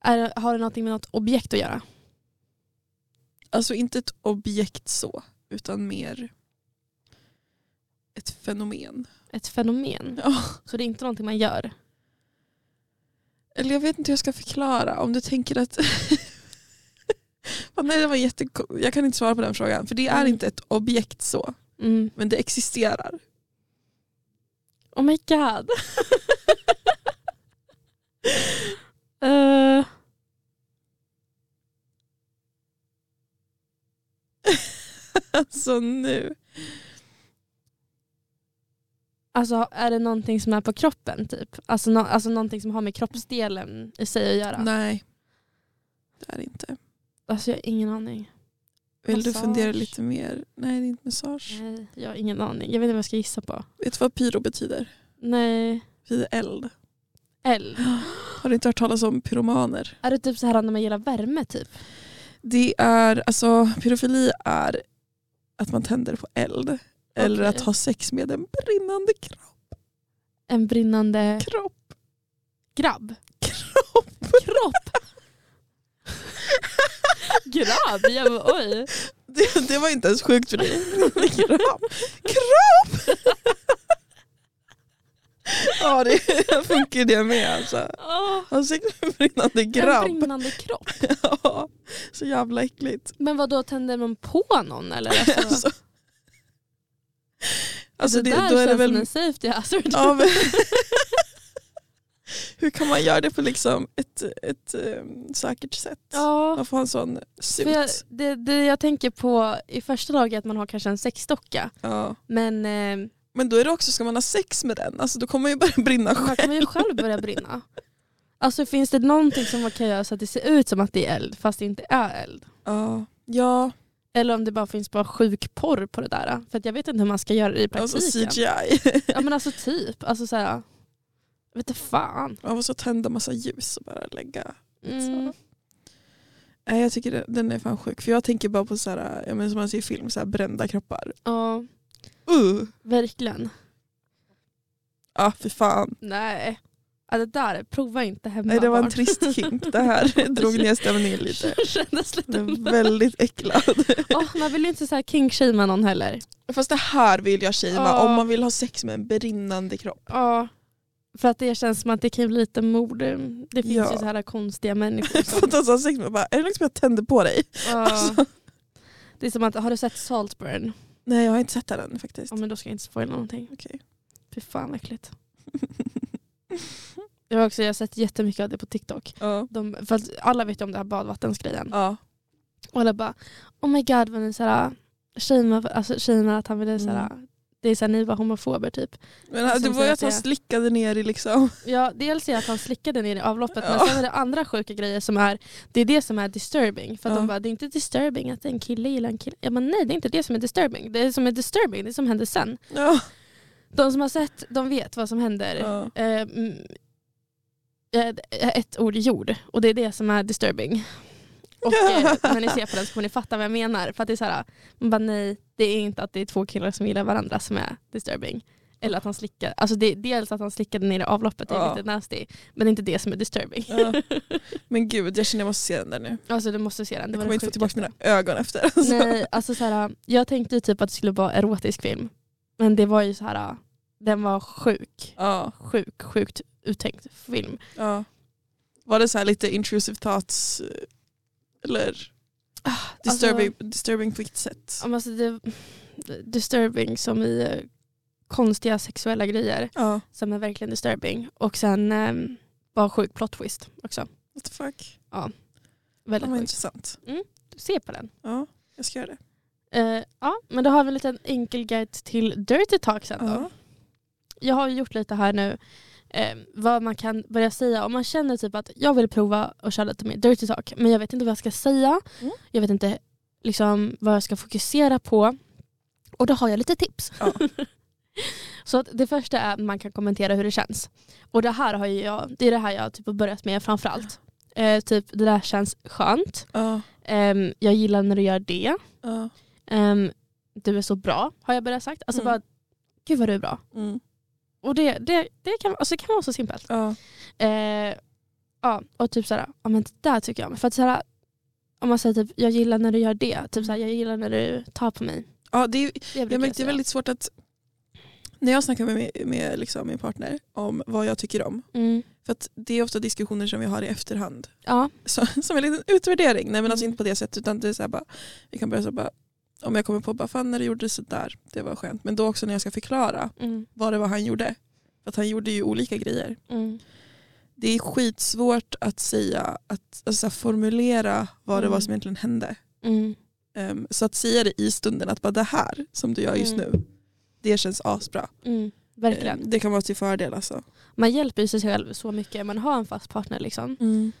Speaker 1: Är, det- har det någonting med något objekt att göra?
Speaker 2: Alltså inte ett objekt så, utan mer ett fenomen.
Speaker 1: Ett fenomen?
Speaker 2: Ja.
Speaker 1: Så det är inte någonting man gör?
Speaker 2: Eller jag vet inte hur jag ska förklara. Om du tänker att... Fan, Nej, det var jätte... Jag kan inte svara på den frågan. För det är
Speaker 1: Mm.
Speaker 2: inte ett objekt så,
Speaker 1: Mm.
Speaker 2: men det existerar.
Speaker 1: Oh my god. Eh,
Speaker 2: alltså nu.
Speaker 1: alltså är det någonting som är på kroppen typ? Alltså, nå- alltså någonting som har med kroppsdelen i sig att göra?
Speaker 2: Nej, det är det inte.
Speaker 1: Alltså jag har ingen aning.
Speaker 2: Vill du
Speaker 1: Massage.
Speaker 2: fundera lite mer? Nej, det är inte massage.
Speaker 1: Nej, jag har ingen aning. Jag vet inte vad jag ska gissa på.
Speaker 2: Vet du vad pyro betyder?
Speaker 1: Nej.
Speaker 2: Vid eld.
Speaker 1: Eld.
Speaker 2: Har du inte hört talas om pyromaner?
Speaker 1: Är det typ så här när man gillar värme typ?
Speaker 2: Det är, alltså pyrofili är att man tänder på eld. Eller att ha sex med en brinnande kro-
Speaker 1: En brinnande
Speaker 2: kropp.
Speaker 1: grabb?
Speaker 2: Kropp.
Speaker 1: Kropp? grabb? Jag bara, oj.
Speaker 2: Det, det var inte ens sjukt för dig. Kropp. Kropp! ja, det funkar det med alltså.
Speaker 1: Åh,
Speaker 2: Ha sex med en brinnande
Speaker 1: En
Speaker 2: grabb.
Speaker 1: brinnande kropp?
Speaker 2: Ja, så jävla äckligt.
Speaker 1: Men vad då tänder man på någon eller? Alltså,
Speaker 2: Alltså. Alltså
Speaker 1: det,
Speaker 2: det,
Speaker 1: där
Speaker 2: då är det
Speaker 1: känns som
Speaker 2: väl...
Speaker 1: en safety hazard.
Speaker 2: Ja, men... Hur kan man göra det på liksom ett, ett um, säkert sätt?
Speaker 1: Ja,
Speaker 2: Man får ha en sån suit.
Speaker 1: för jag, det, det jag tänker på i första laget att man har kanske en sexdocka.
Speaker 2: Ja.
Speaker 1: Men eh,
Speaker 2: Men då är det också, ska man ha sex med den? Alltså då kommer man ju bara brinna
Speaker 1: man
Speaker 2: själv.
Speaker 1: kommer ju själv börja brinna. Alltså finns det någonting som man kan göra så att det ser ut som att det är eld fast det inte är eld?
Speaker 2: Ja, ja.
Speaker 1: Eller om det bara finns bara sjuk porr på det där. För att jag vet inte hur man ska göra det i
Speaker 2: alltså
Speaker 1: praktiken.
Speaker 2: CGI.
Speaker 1: ja men alltså typ. Alltså så här, jag vet inte fan.
Speaker 2: Man måste tända massa ljus och bara lägga.
Speaker 1: Mm.
Speaker 2: Så. Nej, jag tycker den- den är fan sjuk. För jag tänker bara på så här, ja, men som man ser i film, så här, brända kroppar.
Speaker 1: Ja,
Speaker 2: Uh.
Speaker 1: verkligen.
Speaker 2: Ja, för fan.
Speaker 1: Nej. Ja, det där, prova inte hemma.
Speaker 2: Nej, det var en
Speaker 1: barn.
Speaker 2: trist hink. Det här drog ner stämningen lite.
Speaker 1: Det kändes lite
Speaker 2: Jag är väldigt äcklad.
Speaker 1: Åh, man vill ju inte så här kinkshamea någon heller.
Speaker 2: Fast det här vill jag shama
Speaker 1: Ja.
Speaker 2: om man vill ha sex med en brinnande kropp.
Speaker 1: Ja. För att det känns som att det kan bli lite mord. Det finns
Speaker 2: Ja.
Speaker 1: ju så här konstiga människor.
Speaker 2: För
Speaker 1: Som,
Speaker 2: att alltså ha sex med bara, är det någon som jag tänder på dig? Alltså,
Speaker 1: Ja. Alltså, Det är som att, har du sett Saltburn?
Speaker 2: Nej jag har inte sett den än faktiskt.
Speaker 1: Ja men då ska jag inte spoila någonting.
Speaker 2: Okej.
Speaker 1: Fy fan vad äckligt. Jag har, också, jag har sett jättemycket av det på TikTok.
Speaker 2: Ja.
Speaker 1: De, för att alla vet ju om den här badvattensgrejen.
Speaker 2: Ja.
Speaker 1: Och alla bara, oh my god vad ni såhär, shamear alltså, shamear att han ville såhär, det
Speaker 2: Mm.
Speaker 1: är såhär ni var homofober typ.
Speaker 2: Men alltså, det
Speaker 1: Som
Speaker 2: var ju
Speaker 1: sagt,
Speaker 2: att han
Speaker 1: det-
Speaker 2: slickade ner i liksom.
Speaker 1: Ja, dels är det att han slickade ner i avloppet
Speaker 2: Ja.
Speaker 1: men sen är det andra sjuka grejer som är det är det som är disturbing. För att
Speaker 2: Ja.
Speaker 1: de bara, det är inte disturbing att en kille gillar en kille. Ja, men nej, det är inte det som är disturbing. Det som är disturbing, det är som händer sen.
Speaker 2: Ja.
Speaker 1: De som har sett, de vet vad som händer.
Speaker 2: Ja.
Speaker 1: Eh, mm, eh, ett ord är jord och det är det som är disturbing. Och eh, när ni ser på den så kommer ni fatta vad jag menar. För att det är så här, man bara nej, det är inte att det är två killar som gillar varandra som är disturbing. Eller att han slickar, alltså det, dels att han slickade ner i avloppet det är
Speaker 2: Ja.
Speaker 1: lite nasty. Men det är inte det som är disturbing.
Speaker 2: Ja. Men gud jag känner jag måste se den där nu.
Speaker 1: Alltså du måste se den. Det
Speaker 2: Jag
Speaker 1: var
Speaker 2: kommer
Speaker 1: det
Speaker 2: inte få tillbaka
Speaker 1: sjukaste.
Speaker 2: mina ögon efter. Alltså.
Speaker 1: Nej, alltså så här, jag tänkte ju typ att det skulle vara erotisk film. Men det var ju så här, den var sjuk.
Speaker 2: Ja.
Speaker 1: Sjuk, sjukt uttänkt film.
Speaker 2: ja. Var det så här lite intrusive thoughts? eh, Eller disturbing, disturbing på vilket sätt?
Speaker 1: Ah, alltså- Ja, men Alltså, det, disturbing som i eh, konstiga sexuella grejer
Speaker 2: Ja.
Speaker 1: som är verkligen disturbing. Och sen eh, bara sjuk plot twist också.
Speaker 2: What the fuck. Det
Speaker 1: Väldigt
Speaker 2: var
Speaker 1: sjukt.
Speaker 2: intressant.
Speaker 1: Se på den.
Speaker 2: Ja, jag ska göra det.
Speaker 1: Eh, ja, men då har vi en liten enkel guide till Dirty Talk sen då.
Speaker 2: Ja.
Speaker 1: Jag har ju gjort lite här nu eh, vad man kan börja säga om man känner typ att jag vill prova och köra lite mer Dirty Talk men jag vet inte vad jag ska säga.
Speaker 2: Mm.
Speaker 1: Jag vet inte liksom, vad jag ska fokusera på. Och då har jag lite tips.
Speaker 2: Ja.
Speaker 1: Så att det första är att man kan kommentera hur det känns. Och det här har ju jag, det är det här jag typ har börjat med framförallt. Eh, typ det där känns skönt.
Speaker 2: Ja.
Speaker 1: Ehm, jag gillar när du gör det.
Speaker 2: Ja.
Speaker 1: Ehm, du är så bra har jag börjat sagt. Alltså
Speaker 2: Mm.
Speaker 1: bara, gud vad du är bra.
Speaker 2: Mm.
Speaker 1: Och det, det, det, kan, alltså det kan vara så simpelt.
Speaker 2: Ja.
Speaker 1: Eh, ja, och typ såhär, ja men det där tycker jag om. För att såhär, om man säger typ jag gillar när du gör det, typ såhär, jag gillar när du tar på mig.
Speaker 2: ja det är,
Speaker 1: Det brukar
Speaker 2: Jag
Speaker 1: jag
Speaker 2: märkte det är
Speaker 1: säga.
Speaker 2: väldigt svårt att när jag snackar med, med liksom min partner om vad jag tycker om.
Speaker 1: Mm.
Speaker 2: För att det är ofta diskussioner som vi har i efterhand.
Speaker 1: Ja,
Speaker 2: Så, som en liten utvärdering. Nej men alltså
Speaker 1: Mm.
Speaker 2: inte på det sättet utan det är så här bara, vi kan börja så här bara, om jag kommer på bara fan när du gjorde sådär, det var skönt. Men då också när jag ska förklara
Speaker 1: mm,
Speaker 2: vad det var han gjorde. För att han gjorde ju olika grejer.
Speaker 1: mm,
Speaker 2: Det är skitsvårt att säga, att alltså, så här, formulera vad det var
Speaker 1: Mm.
Speaker 2: som egentligen hände.
Speaker 1: mm,
Speaker 2: Ehm, så att säga det i stunden, att bara det här som du gör just
Speaker 1: Mm.
Speaker 2: nu, det känns asbra.
Speaker 1: mm. Verkligen.
Speaker 2: Eh, Det kan vara till fördel alltså.
Speaker 1: Man hjälper ju sig själv så mycket, man har en fast partner liksom.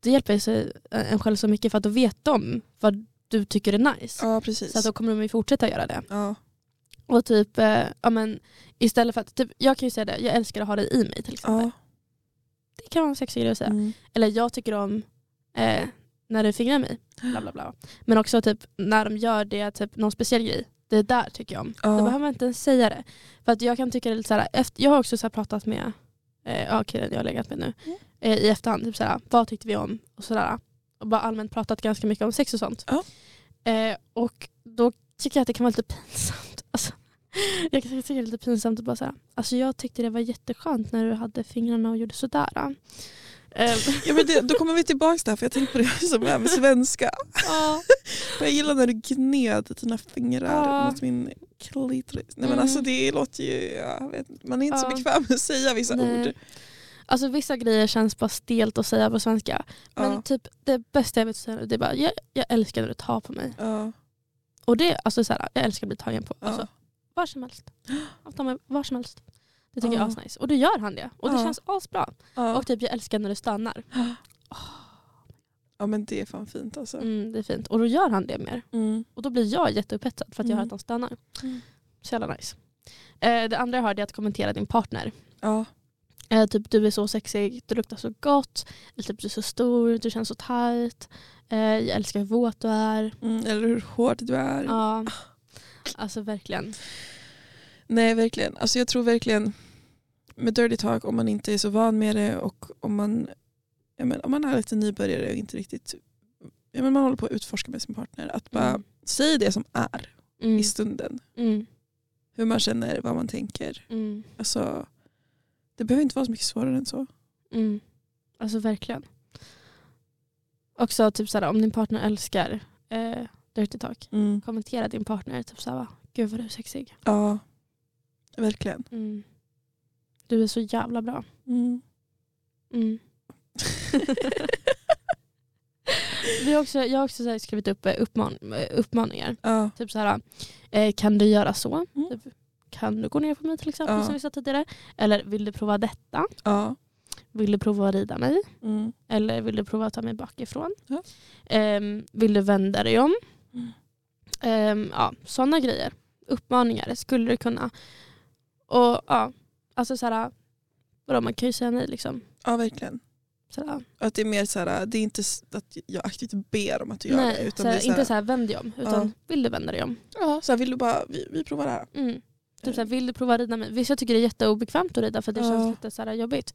Speaker 1: Det hjälper ju sig eh, en själv så mycket för att då vet de vad du tycker är nice.
Speaker 2: Ja precis.
Speaker 1: Så att då kommer de ju fortsätta göra det.
Speaker 2: ja.
Speaker 1: Och typ, eh, ja men istället för att, typ, jag kan ju säga det, jag älskar att ha dig i mig till exempel.
Speaker 2: Ja.
Speaker 1: Det kan vara en sexig grej att säga.
Speaker 2: Mm.
Speaker 1: Eller jag tycker om eh, när du fingrar mig. Bla, bla, bla. Men också typ när de gör det, typ någon speciell grej. Det där tycker jag om.
Speaker 2: Ja.
Speaker 1: Då behöver man inte ens säga det. För att jag kan tycka det är lite såhär, efter, jag har också så här pratat med eh, ja, killen jag har legat med nu
Speaker 2: Mm.
Speaker 1: eh, i efterhand. Typ såhär, vad tyckte vi om? Och sådär. Och bara allmänt pratat ganska mycket om sex och sånt.
Speaker 2: Ja.
Speaker 1: Eh, och då tycker jag att det kan vara lite pinsamt. Alltså, jag kan tycka det är lite pinsamt att bara säga, alltså jag tyckte det var jätteskönt när du hade fingrarna och gjorde sådär. Ehm,
Speaker 2: Ja, men det, då kommer vi tillbaka till det här för jag tänkte på det som är med svenska.
Speaker 1: ja.
Speaker 2: Och Jag gillar när du gned dina fingrar
Speaker 1: Ja.
Speaker 2: mot min klitoris. Nej, men
Speaker 1: Mm.
Speaker 2: alltså, det låter ju, jag vet, man är inte
Speaker 1: Ja.
Speaker 2: så bekväm med att säga vissa
Speaker 1: Nej.
Speaker 2: ord.
Speaker 1: Alltså vissa grejer känns bara stelt att säga på svenska. Men
Speaker 2: Ja,
Speaker 1: typ det bästa jag vet att säga det är bara jag, jag älskar när du tar på mig.
Speaker 2: ja,
Speaker 1: Och det, alltså så här, jag älskar att bli tagen på.
Speaker 2: ja.
Speaker 1: Alltså, var som helst. Att ta mig var som helst. Det tycker
Speaker 2: Ja.
Speaker 1: jag är asnice. Och då gör han det. Och det
Speaker 2: Ja.
Speaker 1: känns asbra.
Speaker 2: ja.
Speaker 1: Och typ jag älskar när du stannar.
Speaker 2: ja men det är fan fint alltså.
Speaker 1: Mm, det är fint. Och då gör han det mer. Och då blir jag jätteupphetsad för att jag hör
Speaker 2: Mm.
Speaker 1: att han stannar.
Speaker 2: Mm.
Speaker 1: Så jävla nice. Eh, det andra jag hörde är att kommentera din partner.
Speaker 2: Ja.
Speaker 1: Eh, typ du är så sexig, du luktar så gott, eller typ du är så stor, du känns så tight. Eh, jag älskar hur våt du är.
Speaker 2: Mm, eller hur hård du är.
Speaker 1: Ja. Alltså verkligen.
Speaker 2: Nej verkligen. Alltså, jag tror verkligen med dirty talk om man inte är så van med det och om man, ja, men, om man är lite nybörjare och inte riktigt ja, men man håller på att utforska med sin partner. Att bara
Speaker 1: Mm.
Speaker 2: säga det som är
Speaker 1: Mm.
Speaker 2: i stunden.
Speaker 1: Mm.
Speaker 2: Hur man känner, vad man tänker.
Speaker 1: Mm.
Speaker 2: Alltså, det behöver inte vara så mycket svårare än så.
Speaker 1: Mm. Alltså verkligen. Också typ såhär, om din partner älskar eh, Dirty Talk, kommentera din partner typ såhär, gud vad du är sexig.
Speaker 2: Ja, verkligen.
Speaker 1: Mm. Du är så jävla bra.
Speaker 2: Mm.
Speaker 1: Mm. Vi har också, jag har också så här skrivit upp eh, uppman, eh, uppmaningar.
Speaker 2: ja.
Speaker 1: Typ så här, eh, kan du göra så?
Speaker 2: Mm.
Speaker 1: Typ, kan du gå ner på mig till exempel
Speaker 2: Ja.
Speaker 1: som vi sa tidigare? Eller vill du prova detta?
Speaker 2: ja.
Speaker 1: Vill du prova att rida mig?
Speaker 2: Mm.
Speaker 1: Eller vill du prova att ta mig bakifrån?
Speaker 2: Ja.
Speaker 1: Ehm, vill du vända dig om?
Speaker 2: Mm.
Speaker 1: Ehm, ja, sådana grejer. Uppmaningar skulle du kunna. Och ja, alltså så här, vadå, man kan ju säga nej liksom.
Speaker 2: ja, verkligen.
Speaker 1: Så här,
Speaker 2: Att det är mer så här, det är inte s- att jag aktivt ber om att du gör
Speaker 1: nej,
Speaker 2: det. Utan
Speaker 1: så här,
Speaker 2: det är så här,
Speaker 1: inte så här vänd dig om, utan vill du vända dig om?
Speaker 2: Ja, så här, vill du bara, vi, vi provar det här.
Speaker 1: Mm. Typ så här, vill du prova att rida mig? Vissa tycker det är jätteobekvämt att rida för det
Speaker 2: Eh. Ja.
Speaker 1: känns lite så här jobbigt.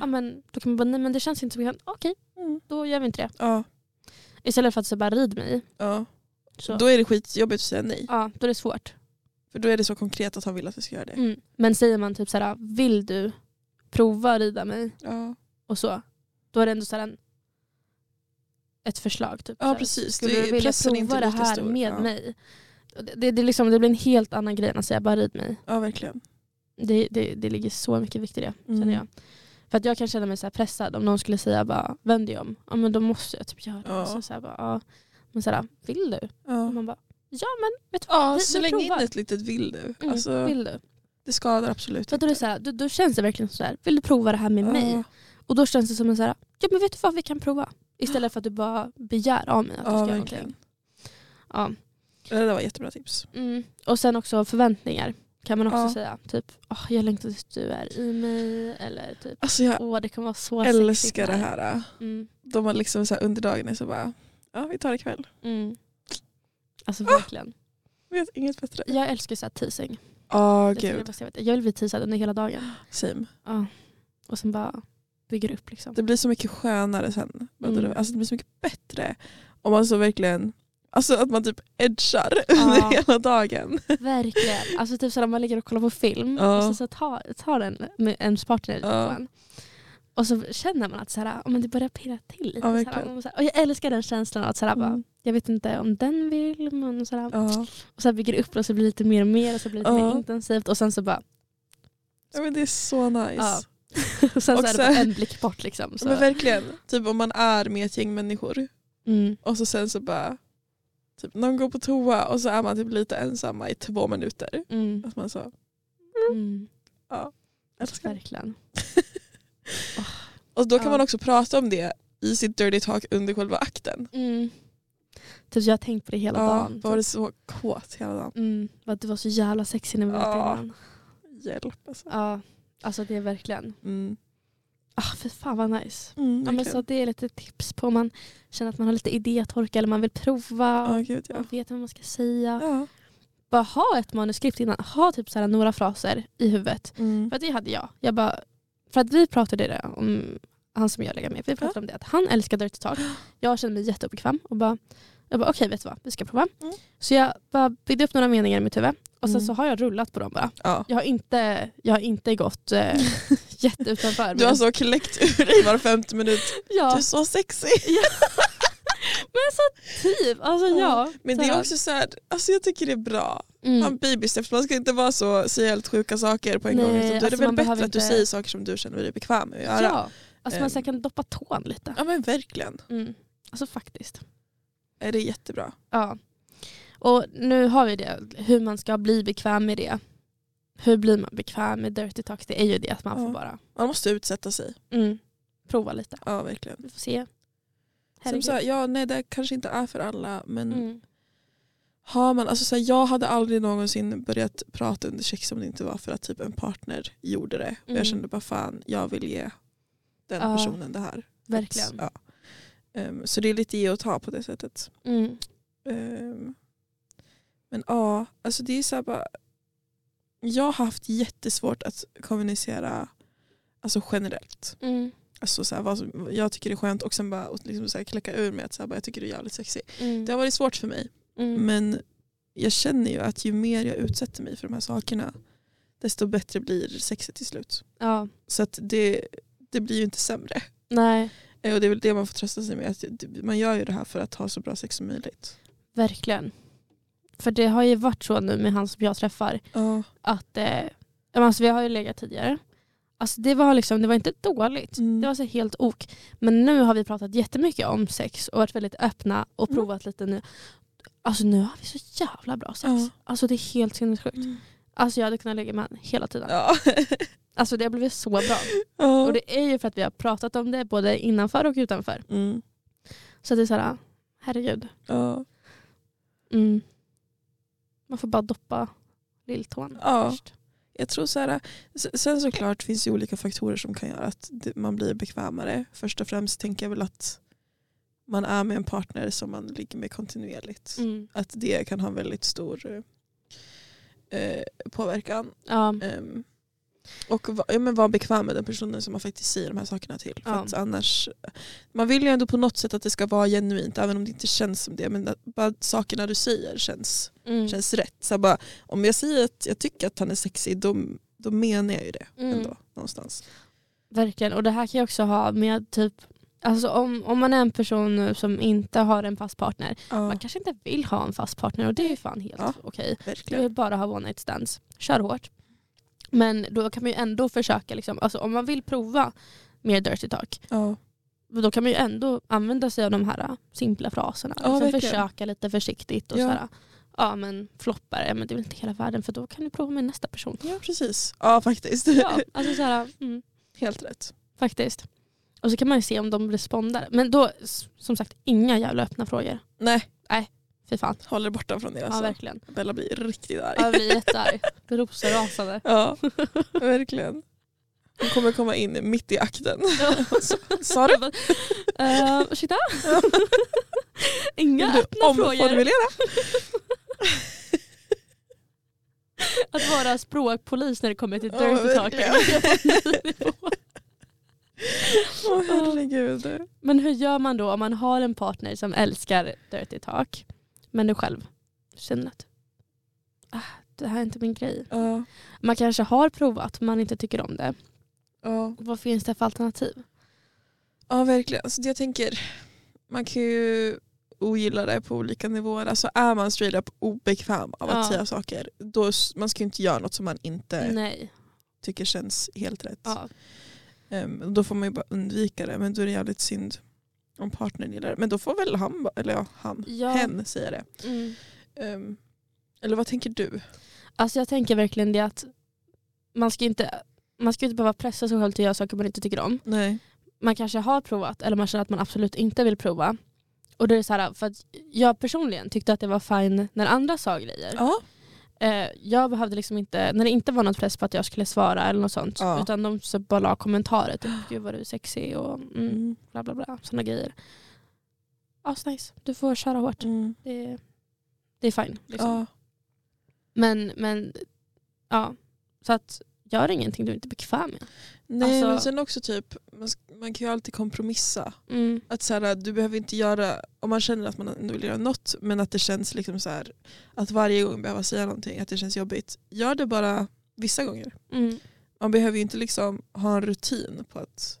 Speaker 1: Ja, men, då kan man bara, nej men det känns inte så bekvämt. Okej,
Speaker 2: Mm.
Speaker 1: då gör vi inte det.
Speaker 2: Ja,
Speaker 1: Istället för att säga bara rid mig.
Speaker 2: ja.
Speaker 1: Så,
Speaker 2: Då är det skitjobbigt att säga nej.
Speaker 1: ja, då är det svårt.
Speaker 2: För då är det så konkret att han vill att vi ska göra det.
Speaker 1: Mm. Men säger man typ så här, vill du prova att rida mig?
Speaker 2: Ja,
Speaker 1: Och så. Då är det ändå så här en, ett förslag. Typ, så
Speaker 2: ja
Speaker 1: här,
Speaker 2: precis.
Speaker 1: Skulle
Speaker 2: Det-
Speaker 1: du vilja
Speaker 2: pressen är
Speaker 1: prova det
Speaker 2: lika
Speaker 1: här
Speaker 2: stor.
Speaker 1: med
Speaker 2: ja.
Speaker 1: mig? Och Det, det, det, är liksom, det blir en helt annan grej än att säga bara rid mig.
Speaker 2: Ja, verkligen.
Speaker 1: Det, det, det ligger så mycket vikt i det
Speaker 2: Mm.
Speaker 1: känner jag. För att jag kan känna mig så här pressad om någon skulle säga bara vänd dig om. Ja men då måste jag typ göra det.
Speaker 2: Ja.
Speaker 1: Så, så här, bara, ja. Men så här, vill du? Och
Speaker 2: Ja.
Speaker 1: man bara ja men vet du vad?
Speaker 2: Ja,
Speaker 1: vi-
Speaker 2: så
Speaker 1: vi
Speaker 2: länge in
Speaker 1: provar.
Speaker 2: ett litet vill du.
Speaker 1: Mm,
Speaker 2: Alltså,
Speaker 1: vill du?
Speaker 2: Det skadar absolut
Speaker 1: För att då, är det så här, då, då känns det verkligen så här, vill du prova det här med
Speaker 2: Ja.
Speaker 1: mig? Och då känns det som en så här, ja men vet du vad vi kan prova. Istället för att du bara begär av mig att du
Speaker 2: Ja,
Speaker 1: ska göra någonting.
Speaker 2: verkligen.
Speaker 1: Ja.
Speaker 2: Det där var jättebra tips.
Speaker 1: Mm. Och sen också förväntningar kan man också
Speaker 2: Ja.
Speaker 1: säga. Typ, åh jag längtar tills du är i mig. Eller typ,
Speaker 2: Alltså jag
Speaker 1: åh det kommer vara så sexigt
Speaker 2: älskar det här.
Speaker 1: Mm.
Speaker 2: De har liksom så här under dagen är så bara, ja vi tar det ikväll.
Speaker 1: Mm.
Speaker 2: Ah!
Speaker 1: Alltså verkligen.
Speaker 2: Vet inget bättre.
Speaker 1: Jag älskar så här teasing.
Speaker 2: Åh
Speaker 1: Jag, tycker det är
Speaker 2: gud,
Speaker 1: bästa jag, vet. jag vill bli teasad under hela dagen.
Speaker 2: same.
Speaker 1: Ja. Och sen bara bygger upp liksom.
Speaker 2: Det blir så mycket skönare sen.
Speaker 1: Mm.
Speaker 2: Alltså det blir så mycket bättre. Om man så verkligen, alltså att man typ edgar
Speaker 1: Ja.
Speaker 2: under hela dagen.
Speaker 1: Verkligen. Alltså typ såhär man ligger och kollar på film
Speaker 2: Ja.
Speaker 1: och sen så tar, tar den med ens partner lite
Speaker 2: Ja.
Speaker 1: på en. Och så känner man att såhär, ja, men det börjar pirra till lite.
Speaker 2: Ja,
Speaker 1: såhär.
Speaker 2: verkligen.
Speaker 1: Man bara såhär, och jag älskar den känslan av att såhär, bara,
Speaker 2: Mm.
Speaker 1: jag vet inte om den vill men såhär,
Speaker 2: Ja.
Speaker 1: och så bygger det upp det och så blir det lite mer och mer och så blir det lite
Speaker 2: Ja.
Speaker 1: mer intensivt och sen så bara,
Speaker 2: ja men det är så nice.
Speaker 1: Ja. och sen så
Speaker 2: Och
Speaker 1: är det
Speaker 2: så-
Speaker 1: bara en blick bort liksom.
Speaker 2: Men
Speaker 1: Så.
Speaker 2: verkligen, typ om man är med ett gäng människor
Speaker 1: Mm.
Speaker 2: och så sen så bara, typ någon går på toa och så är man typ lite ensamma i två minuter.
Speaker 1: Mm.
Speaker 2: Att man så,
Speaker 1: Mm.
Speaker 2: älskar det.
Speaker 1: Verkligen.
Speaker 2: Och då kan
Speaker 1: Ja.
Speaker 2: man också prata om det i sitt dirty talk under själva akten.
Speaker 1: Mm. Typ jag har tänkt på det hela
Speaker 2: Ja,
Speaker 1: dagen. typ.
Speaker 2: då var det så kåt hela dagen.
Speaker 1: Mm, för att du var så jävla sexig när vi var ute
Speaker 2: Ja.
Speaker 1: innan.
Speaker 2: Hjälp alltså.
Speaker 1: Ja, alltså det är verkligen.
Speaker 2: Mm.
Speaker 1: Ah, för fan vad nice.
Speaker 2: Mm,
Speaker 1: Ja, men så det är lite tips på om man känner att man har lite idétorka eller man vill prova.
Speaker 2: Ja, gud ja.
Speaker 1: Man vet vad man ska säga.
Speaker 2: ja.
Speaker 1: Bara ha ett manuskript innan. Ha typ så här några fraser i huvudet.
Speaker 2: Mm.
Speaker 1: För att det hade jag. jag bara, för att vi pratade det om, han som jag lägger med, vi pratade om det att han älskar Dirty Talk. Jag kände mig jätteobekväm och bara, jag bara okej vet du vad, vi ska prova.
Speaker 2: Mm.
Speaker 1: Så jag bara byggde upp några meningar i mitt huvud och sen
Speaker 2: Mm.
Speaker 1: så har jag rullat på dem bara.
Speaker 2: Ja.
Speaker 1: Jag har inte, jag har inte gått eh, jätteutanför. men-
Speaker 2: Du har så kläckt ur dig var femte minut. Du
Speaker 1: ja,
Speaker 2: är så sexig.
Speaker 1: typ. Alltså
Speaker 2: Ja,
Speaker 1: ja.
Speaker 2: Men det
Speaker 1: så här.
Speaker 2: är också så här, alltså jag tycker det är bra. Man
Speaker 1: Mm.
Speaker 2: babysteps, man ska inte vara så, säga helt sjuka saker på en
Speaker 1: Nej,
Speaker 2: gång. Utan Då är
Speaker 1: alltså
Speaker 2: det
Speaker 1: man
Speaker 2: väl bättre
Speaker 1: behöver
Speaker 2: att du
Speaker 1: inte-
Speaker 2: säger saker som du känner dig bekväm med att göra. Ehm.
Speaker 1: Ja, alltså man så här kan doppa tån lite.
Speaker 2: ja men verkligen.
Speaker 1: Mm. Alltså faktiskt.
Speaker 2: Är det är jättebra.
Speaker 1: Ja. Och nu har vi det, hur man ska bli bekväm med det. Hur blir man bekväm med dirty talks? Det är ju det att man
Speaker 2: Ja.
Speaker 1: får bara
Speaker 2: Man måste utsätta sig.
Speaker 1: mm, prova lite.
Speaker 2: Ja verkligen.
Speaker 1: Vi får se.
Speaker 2: Som
Speaker 1: Herregud.
Speaker 2: så här, ja, nej, det kanske inte är för alla men
Speaker 1: mm.
Speaker 2: har man, alltså så här, jag hade aldrig någonsin börjat prata under sex om det inte var för att typ en partner gjorde det. Och
Speaker 1: Mm.
Speaker 2: jag kände bara fan jag vill ge den
Speaker 1: Ja.
Speaker 2: personen det här.
Speaker 1: Verkligen.
Speaker 2: Ja. Ehm, så det är lite ge och ta på det sättet.
Speaker 1: Mm.
Speaker 2: Ehm, men ja, alltså det är så här bara, jag har haft jättesvårt att kommunicera alltså generellt.
Speaker 1: Mm.
Speaker 2: Alltså så här, vad som, jag tycker det är skönt och sen bara och liksom så här, kläcka ur med att så här, bara, jag tycker du är jävligt sexig.
Speaker 1: Mm.
Speaker 2: Det har varit svårt för mig
Speaker 1: Mm.
Speaker 2: men jag känner ju att ju mer jag utsätter mig för de här sakerna desto bättre blir sexet till slut.
Speaker 1: Ja,
Speaker 2: Så att det, det blir ju inte sämre.
Speaker 1: nej,
Speaker 2: Eh, Och det är väl det man får trösta sig med. Att det- man gör ju det här för att ha så bra sex som möjligt.
Speaker 1: verkligen. För det har ju varit så nu med han som jag träffar
Speaker 2: Ja.
Speaker 1: att eh, alltså vi har ju legat tidigare. Alltså det var liksom, det var inte dåligt.
Speaker 2: Mm.
Speaker 1: Det var så helt ok. Men nu har vi pratat jättemycket om sex och varit väldigt öppna och
Speaker 2: Mm.
Speaker 1: provat lite nu. Alltså nu har vi så jävla bra sex.
Speaker 2: Ja.
Speaker 1: Alltså det är helt sinnessjukt. Alltså jag hade kunnat lägga med han hela tiden.
Speaker 2: Ja.
Speaker 1: Alltså det har blivit så bra. Och
Speaker 2: ja.
Speaker 1: det är ju för att vi har pratat om det både innanför och utanför.
Speaker 2: Mm.
Speaker 1: Så det är så här, herregud.
Speaker 2: ja.
Speaker 1: Mm. Man får bara doppa lilltån
Speaker 2: Ja.
Speaker 1: först.
Speaker 2: Jag tror så här, s- sen såklart finns det ju olika faktorer som kan göra att det- man blir bekvämare. Först och främst tänker jag väl att man är med en partner som man ligger med kontinuerligt.
Speaker 1: Mm.
Speaker 2: att det kan ha en väldigt stor eh, påverkan.
Speaker 1: Ja.
Speaker 2: Ehm, och va, ja, men var bekväm med den personen som man faktiskt säger de här sakerna till. För
Speaker 1: Ja.
Speaker 2: att annars, man vill ju ändå på något sätt att det ska vara genuint även om det inte känns som det. Men att bara sakerna du säger känns,
Speaker 1: Mm.
Speaker 2: känns rätt. Så här bara, om jag säger att jag tycker att han är sexig då, då menar jag ju det
Speaker 1: Mm.
Speaker 2: ändå någonstans.
Speaker 1: Verkligen, och det här kan jag också ha med typ Alltså om, om man är en person nu som inte har en fast partner,
Speaker 2: Ja,
Speaker 1: man kanske inte vill ha en fast partner och det är ju fan helt
Speaker 2: Ja.
Speaker 1: okej. Du
Speaker 2: verkligen.
Speaker 1: vill bara ha one night stands, kör hårt. Men då kan man ju ändå försöka, liksom, alltså om man vill prova mer dirty talk,
Speaker 2: Ja.
Speaker 1: då kan man ju ändå använda sig av de här äh, simpla fraserna.
Speaker 2: Ja,
Speaker 1: liksom
Speaker 2: verkligen.
Speaker 1: försöka lite försiktigt och
Speaker 2: Ja.
Speaker 1: sådär. Ja men floppar, ja, men det är väl inte hela världen för då kan du prova med nästa person.
Speaker 2: ja, precis. Ja, faktiskt.
Speaker 1: Ja, alltså såhär, mm.
Speaker 2: Helt rätt.
Speaker 1: Faktiskt. Och så kan man ju se om de respondar. Men då, s- som sagt, inga jävla öppna frågor.
Speaker 2: Nej,
Speaker 1: Fy fan.
Speaker 2: håller borta från det.
Speaker 1: Ja,
Speaker 2: Alltså.
Speaker 1: verkligen.
Speaker 2: Bella blir riktigt arg.
Speaker 1: Ja, vi är jättearg. Rosenrasande.
Speaker 2: Ja, verkligen. Hon kommer komma in mitt i akten. Sa du?
Speaker 1: Uh, ursäkta? Inga
Speaker 2: Vill du
Speaker 1: öppna frågor.
Speaker 2: omformulera?
Speaker 1: Att vara språkpolis när det kommer till
Speaker 2: Ja,
Speaker 1: dirty talk.
Speaker 2: verkligen. Åh herregud.
Speaker 1: Men hur gör man då om man har en partner som älskar dirty talk men du själv känner att ah, det här är inte min grej.
Speaker 2: Ja,
Speaker 1: Man kanske har provat men man inte tycker om det.
Speaker 2: ja.
Speaker 1: Vad finns det för alternativ?
Speaker 2: ja verkligen. Alltså, jag tänker, man kan ju ogilla det på olika nivåer. Alltså är man straight up obekväm av att
Speaker 1: Ja.
Speaker 2: säga saker, då, s- man ska ju inte göra något som man inte
Speaker 1: Nej.
Speaker 2: tycker känns helt rätt.
Speaker 1: Ja.
Speaker 2: Ehm, då får man ju bara undvika det, men då är det jävligt synd om partnern gillar det. Men då får väl han, ba- eller ja, han,
Speaker 1: Ja.
Speaker 2: hen säga det.
Speaker 1: Mm.
Speaker 2: Ehm, eller vad tänker du?
Speaker 1: Alltså jag tänker verkligen det att man ska ju inte, man ska ju inte behöva pressa sig själv till att göra saker man inte tycker om.
Speaker 2: Nej.
Speaker 1: Man kanske har provat eller man känner att man absolut inte vill prova. Och då är det så här, för att jag personligen tyckte att det var fine när andra sa grejer.
Speaker 2: Ja.
Speaker 1: Eh, jag behövde liksom inte, när det inte var någon press på att jag skulle svara eller något sånt.
Speaker 2: Ja.
Speaker 1: Utan de så bara la kommentarer, typ gud vad du är sexig och mm, bla bla bla, sådana grejer. Asnice, du får köra hårt.
Speaker 2: Mm.
Speaker 1: Det, det är fine. Liksom.
Speaker 2: Ja.
Speaker 1: Men, men ja. Så att gör ingenting du inte är bekväm med.
Speaker 2: Nej
Speaker 1: Alltså-
Speaker 2: men sen också typ, man, sk- man kan ju alltid kompromissa.
Speaker 1: Mm.
Speaker 2: Att så här, du behöver inte göra, om man känner att man ändå vill göra något men att det känns liksom så här, att varje gång behöva säga någonting, att det känns jobbigt. Gör det bara vissa gånger.
Speaker 1: Mm.
Speaker 2: Man behöver ju inte liksom ha en rutin på att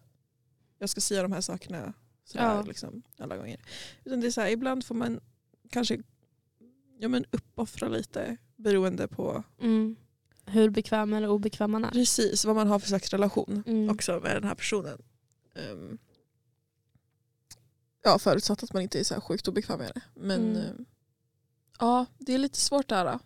Speaker 2: jag ska säga de här sakerna sådär,
Speaker 1: Ja.
Speaker 2: liksom, alla gånger. Utan det är så här, ibland får man kanske ja, men uppoffra lite beroende på
Speaker 1: Mm. Hur bekväm eller obekväm man är.
Speaker 2: precis vad man har för slags relation
Speaker 1: Mm.
Speaker 2: också med den här personen. Ehm, ja, förutsatt att man inte är så här sjukt obekväm med det. Men
Speaker 1: Mm.
Speaker 2: ehm, ja, det är lite svårt det här. då.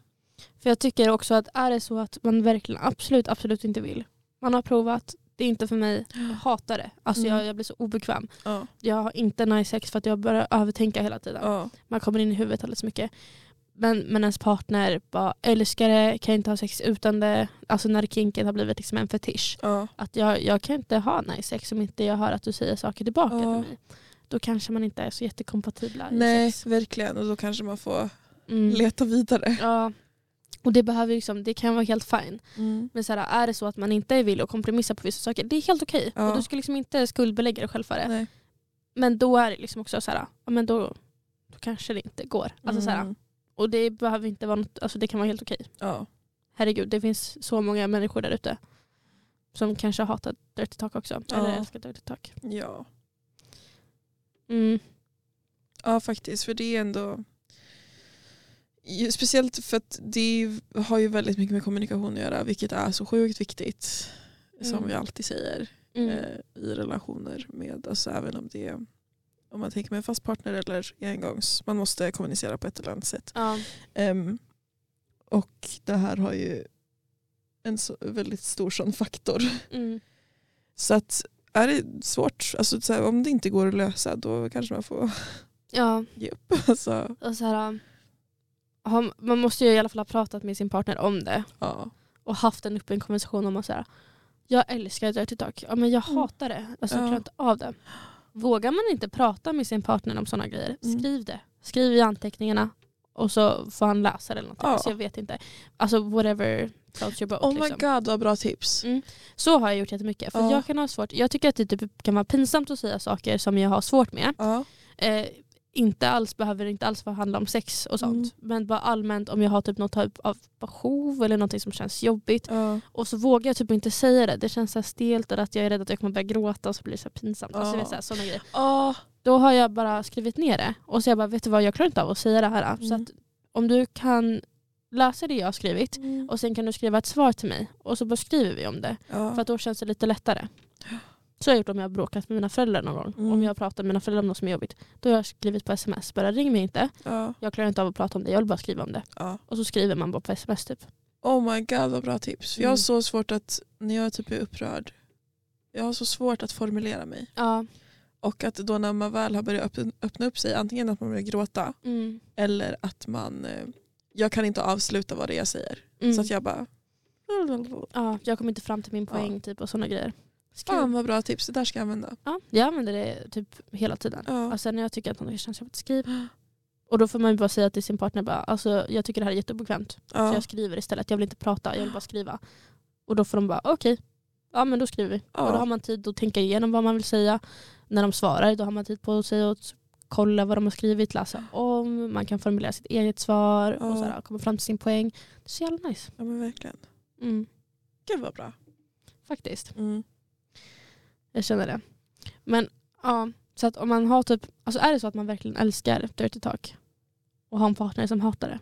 Speaker 1: För jag tycker också att är det så att man verkligen absolut, absolut inte vill. Man har provat, det är inte för mig, jag hatar det. Alltså
Speaker 2: Mm.
Speaker 1: jag, jag blir så obekväm.
Speaker 2: Ja,
Speaker 1: Jag har inte nice sex för att jag börjar övertänka hela tiden.
Speaker 2: ja.
Speaker 1: Man kommer in i huvudet alldeles mycket. Men, men ens partner bara älskar det, kan inte ha sex utan det. Alltså när kinken har blivit liksom en fetisch.
Speaker 2: ja.
Speaker 1: Att jag, jag kan inte ha nice sex om inte jag hör att du säger saker tillbaka
Speaker 2: Ja.
Speaker 1: till mig. Då kanske man inte är så jättekompatibla i
Speaker 2: Nej,
Speaker 1: sex.
Speaker 2: verkligen. Och då kanske man får
Speaker 1: Mm.
Speaker 2: leta vidare.
Speaker 1: Ja. Och det, behöver liksom, det kan vara helt fine. Men så här, är det så att man inte är villig att kompromissa på vissa saker, det är helt okej.
Speaker 2: Ja.
Speaker 1: Och du ska liksom inte skuldbelägga dig själv för det.
Speaker 2: Nej.
Speaker 1: Men då är det liksom också så här, ja, men då, då kanske det inte går. Alltså så här,
Speaker 2: Mm.
Speaker 1: och det behöver inte vara något, alltså det kan vara helt okej.
Speaker 2: Ja.
Speaker 1: Herregud, det finns så många människor där ute som kanske hatar Dirty Talk också.
Speaker 2: Ja.
Speaker 1: Eller älskar Dirty Talk.
Speaker 2: Ja.
Speaker 1: Mm.
Speaker 2: ja, faktiskt. För det är ändå... ju- Speciellt för att det har ju väldigt mycket med kommunikation att göra vilket är så sjukt viktigt. Som
Speaker 1: Mm.
Speaker 2: vi alltid säger
Speaker 1: Mm.
Speaker 2: eh, i relationer med, alltså även om det är om man tänker med en fast partner eller engångs, man måste kommunicera på ett eller annat sätt.
Speaker 1: Ja.
Speaker 2: Ehm, och det här har ju en så, väldigt stor sån faktor.
Speaker 1: Mm.
Speaker 2: Så att är det svårt, alltså, så här, om det inte går att lösa då kanske man får
Speaker 1: ja.
Speaker 2: ge upp. Alltså,
Speaker 1: Och så här, äh, har- man måste ju i alla fall ha pratat med sin partner om det.
Speaker 2: ja.
Speaker 1: och haft en öppen konversation om att så här, jag älskar dirty talk, ja, men jag
Speaker 2: Mm.
Speaker 1: hatar det. Alltså,
Speaker 2: Ja.
Speaker 1: Jag klarar inte av det. Vågar man inte prata med sin partner om sådana grejer,
Speaker 2: Mm.
Speaker 1: skriv det. Skriv i anteckningarna och så får han läsa det eller någonting.
Speaker 2: Ja.
Speaker 1: Alltså, jag vet inte. Alltså whatever floats your boat.
Speaker 2: Oh my
Speaker 1: liksom.
Speaker 2: god vad bra tips.
Speaker 1: Mm. Så har jag gjort jättemycket. För
Speaker 2: Ja.
Speaker 1: jag, kan ha svårt, jag tycker att det typ kan vara pinsamt att säga saker som jag har svårt med.
Speaker 2: Ja.
Speaker 1: Eh, inte alls behöver det inte alls vara handla om sex och sånt.
Speaker 2: Mm.
Speaker 1: Men bara allmänt om jag har typ något typ av behov eller någonting som känns jobbigt.
Speaker 2: Ja.
Speaker 1: Och så vågar jag typ inte säga det. Det känns så här stelt och att jag är rädd att jag kommer börja gråta och så blir det så här pinsamt. Alltså,
Speaker 2: Ja.
Speaker 1: du vet, så här, såna grejer.
Speaker 2: Ja.
Speaker 1: Då har jag bara skrivit ner det och så jag bara, vet du vad, jag klarar inte av att säga det här. Så
Speaker 2: Mm.
Speaker 1: att om du kan läsa det jag har skrivit och sen kan du skriva ett svar till mig och så bara skriver vi om det. För
Speaker 2: Ja.
Speaker 1: att då känns det lite lättare. Så har jag gjort om jag har bråkat med mina föräldrar någon gång.
Speaker 2: Mm.
Speaker 1: Om jag har pratat med mina föräldrar om något som är jobbigt. Då har jag skrivit på sms, bara ring mig inte.
Speaker 2: Ja.
Speaker 1: Jag klarar inte av att prata om det, jag vill bara skriva om det.
Speaker 2: Ja.
Speaker 1: Och så skriver man bara på sms typ.
Speaker 2: Oh my god vad bra tips. För Jag har
Speaker 1: Mm.
Speaker 2: så svårt att, när jag typ är upprörd, jag har så svårt att formulera mig.
Speaker 1: Ja.
Speaker 2: Och att då när man väl har börjat öppna, öppna upp sig, antingen att man börjar gråta
Speaker 1: Mm.
Speaker 2: eller att man, eh, jag kan inte avsluta vad det är jag säger.
Speaker 1: Mm.
Speaker 2: Så att jag bara,
Speaker 1: Ja, jag kom inte fram till min
Speaker 2: Ja.
Speaker 1: poäng typ, och sådana grejer.
Speaker 2: fan
Speaker 1: Skriv.
Speaker 2: vad bra tips, det där ska jag använda.
Speaker 1: Ja, jag använder det typ hela tiden.
Speaker 2: Ja.
Speaker 1: Och sen när jag tycker att något känns jobbigt, skriv. Och då får man ju bara säga till sin partner bara, alltså, jag tycker det här är jätteobekvämt. Så
Speaker 2: Ja.
Speaker 1: jag skriver istället, jag vill inte prata, jag vill bara skriva. Och då får de bara, okej, ja men då skriver vi.
Speaker 2: Ja.
Speaker 1: Och då har man tid att tänka igenom vad man vill säga. När de svarar, då har man tid på sig att kolla vad de har skrivit, läsa om, man kan formulera sitt eget svar
Speaker 2: Ja.
Speaker 1: och så här, komma fram till sin poäng. Det är så jävla nice.
Speaker 2: ja men verkligen.
Speaker 1: Mm,
Speaker 2: Gud vad bra.
Speaker 1: faktiskt.
Speaker 2: Mm.
Speaker 1: Jag känner det. Men ja, så att om man har typ, alltså är det så att man verkligen älskar Dirty Talk och har en partner som hatar det.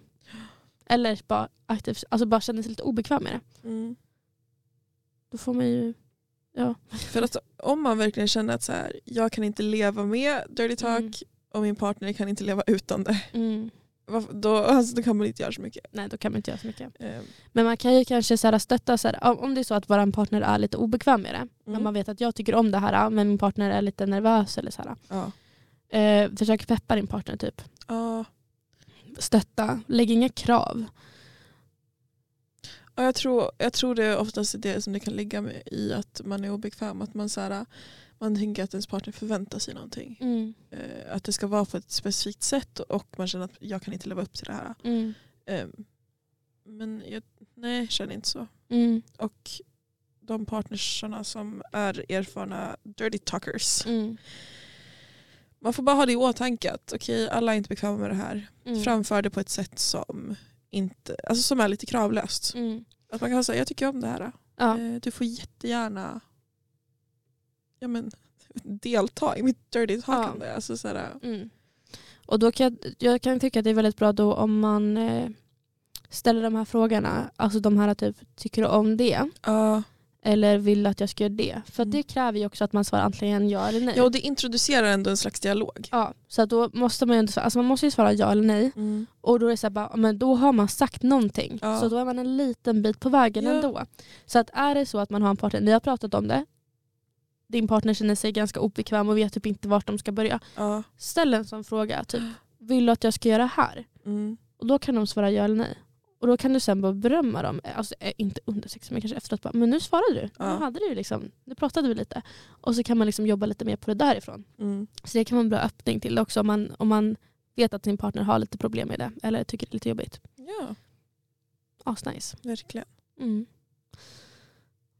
Speaker 1: Eller bara aktivt, alltså bara känner sig lite obekväm med det.
Speaker 2: Mm.
Speaker 1: Då får man ju, ja.
Speaker 2: För att om man verkligen känner att så här, jag kan inte leva med dirty talk
Speaker 1: Mm.
Speaker 2: och min partner kan inte leva utan det,
Speaker 1: Mm,
Speaker 2: varför- då, alltså, då kan man inte göra så mycket.
Speaker 1: nej då kan man inte göra så mycket.
Speaker 2: Eh,
Speaker 1: Men man kan ju kanske så här stötta, så här, om om det är så att vår partner är lite obekväm med det. Men
Speaker 2: Mm.
Speaker 1: man vet att jag tycker om det här men min partner är lite nervös eller så här.
Speaker 2: Ja.
Speaker 1: Eh, försök peppa din partner typ.
Speaker 2: Ja.
Speaker 1: Stötta, lägg inga krav.
Speaker 2: Ja, jag, tror, jag tror det är oftast det som det kan ligga med i att man är obekväm. Att man, så här, man tänker att ens partner förväntar sig någonting.
Speaker 1: Mm.
Speaker 2: Eh, Att det ska vara på ett specifikt sätt och man känner att jag kan inte leva upp till det här.
Speaker 1: Mm.
Speaker 2: Eh, Men jag, nej, jag känner inte så.
Speaker 1: Mm.
Speaker 2: Och de partnersarna som är erfarna dirty talkers.
Speaker 1: Mm.
Speaker 2: Man får bara ha det i åtanke att okej, alla är inte bekväma med det här.
Speaker 1: Mm.
Speaker 2: Framför det på ett sätt som, inte, alltså som är lite kravlöst.
Speaker 1: Mm.
Speaker 2: Att man kan säga jag tycker om det här.
Speaker 1: Ja.
Speaker 2: Eh, Du får jättegärna ja, men, delta i mitt dirty talkande. Alltså, så här,
Speaker 1: Mm. Och då kan jag, jag kan tycka att det är väldigt bra då om man eh, ställer de här frågorna. Alltså de här typ, tycker du om det?
Speaker 2: ja.
Speaker 1: Eller vill att jag ska göra det? För att det
Speaker 2: Mm.
Speaker 1: kräver ju också att man svarar antingen ja eller nej.
Speaker 2: ja, och det introducerar ändå en slags dialog.
Speaker 1: Ja, så att då måste man ju ändå, svara- alltså man måste ju svara ja eller nej. Och då är det så här, bara, ja, men då har man sagt någonting.
Speaker 2: Ja.
Speaker 1: Så då är man en liten bit på vägen
Speaker 2: Ja.
Speaker 1: ändå. Så att är det så att man har en partner, ni har pratat om det, din partner känner sig ganska obekväm och vet typ inte vart de ska börja.
Speaker 2: Ja.
Speaker 1: Ställ en sån fråga, typ vill du att jag ska göra här?
Speaker 2: Mm.
Speaker 1: Och då kan de svara ja eller nej. Och då kan du sen bara berömma dem, alltså eh, inte under sex men kanske efteråt, bara, men nu svarade du.
Speaker 2: Ja.
Speaker 1: Nu hade du liksom, nu pratade vi lite. Och så kan man liksom jobba lite mer på det därifrån.
Speaker 2: Mm.
Speaker 1: Så det kan vara en bra öppning till också om man, om man vet att sin partner har lite problem med det eller tycker det är lite jobbigt.
Speaker 2: ja,
Speaker 1: Asnice.
Speaker 2: verkligen.
Speaker 1: Mm.